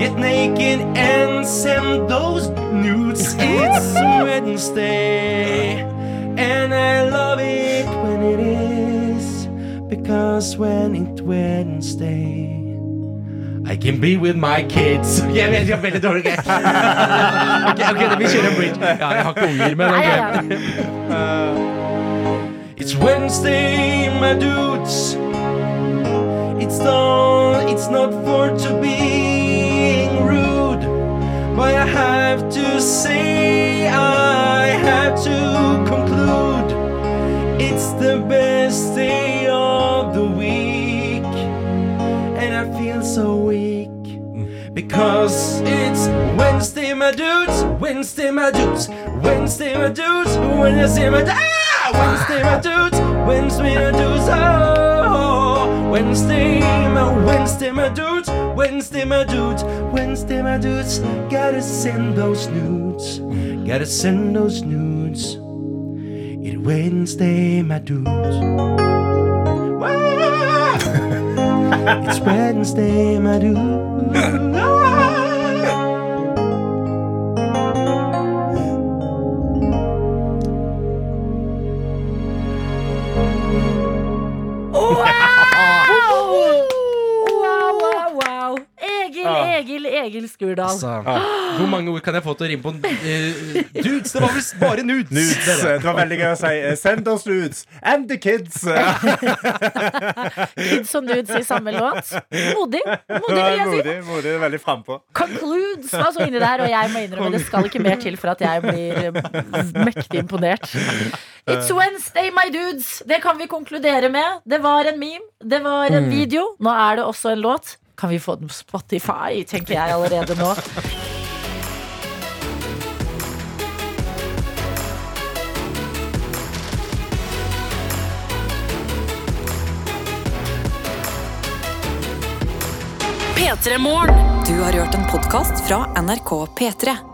I: Get naked and send those nudes. It's Wednesday, and I love it when it is because when it's Wednesday.
K: I can be with my kids. Jeg vet, jeg er veldig dårlig. Ok, ok, vi kjører bridge. Ja, jeg har ikke unger, men ok.
I: It's Wednesday, my dudes. It's not, it's not for to being rude, but I have to say, I have to conclude. It's the best day of the week, and I feel so weak. Because it's Wednesday, my dudes. Wednesday, my dudes. Wednesday, my dudes. Wednesday, my dudes. Ah! Wednesday, my dudes. Wednesday, my dudes. Oh, Wednesday, my Wednesday, my dudes. Wednesday, my dudes. Wednesday, my dudes. Gotta send those nudes. Gotta send those nudes. It's Wednesday, my dudes. Wah! it's Wednesday, my dudes.
B: Wow, wow, wow. Egil,
I: Ah.
K: Ja.
B: Egil, Egil Skurdal.
K: Altså, hvor mange ord kan jeg få til å rime på en eh, Dudes, det var vel bare nudes.
C: Nudes.
K: dere.
C: Det var veldig gøy å si. eh, Send oss nudes. And the kids.
B: Kids og nudes i samme låt. Modig. Modig, vil jeg si.
C: Modig. modig veldig frampå.
B: Concludes var så inni der, og jeg må innrømme det skal ikke mer til for at jeg blir eh, mektig imponert. It's Wednesday, my dudes! Det kan vi konkludere med. Det var en meme, det var en
L: Mm.
B: video. Nå er det også en låt. Kan vi få den på Spotify, tenker jeg allerede nå.
M: P3 Morgen. Du har hørt en podkast fra NRK P3.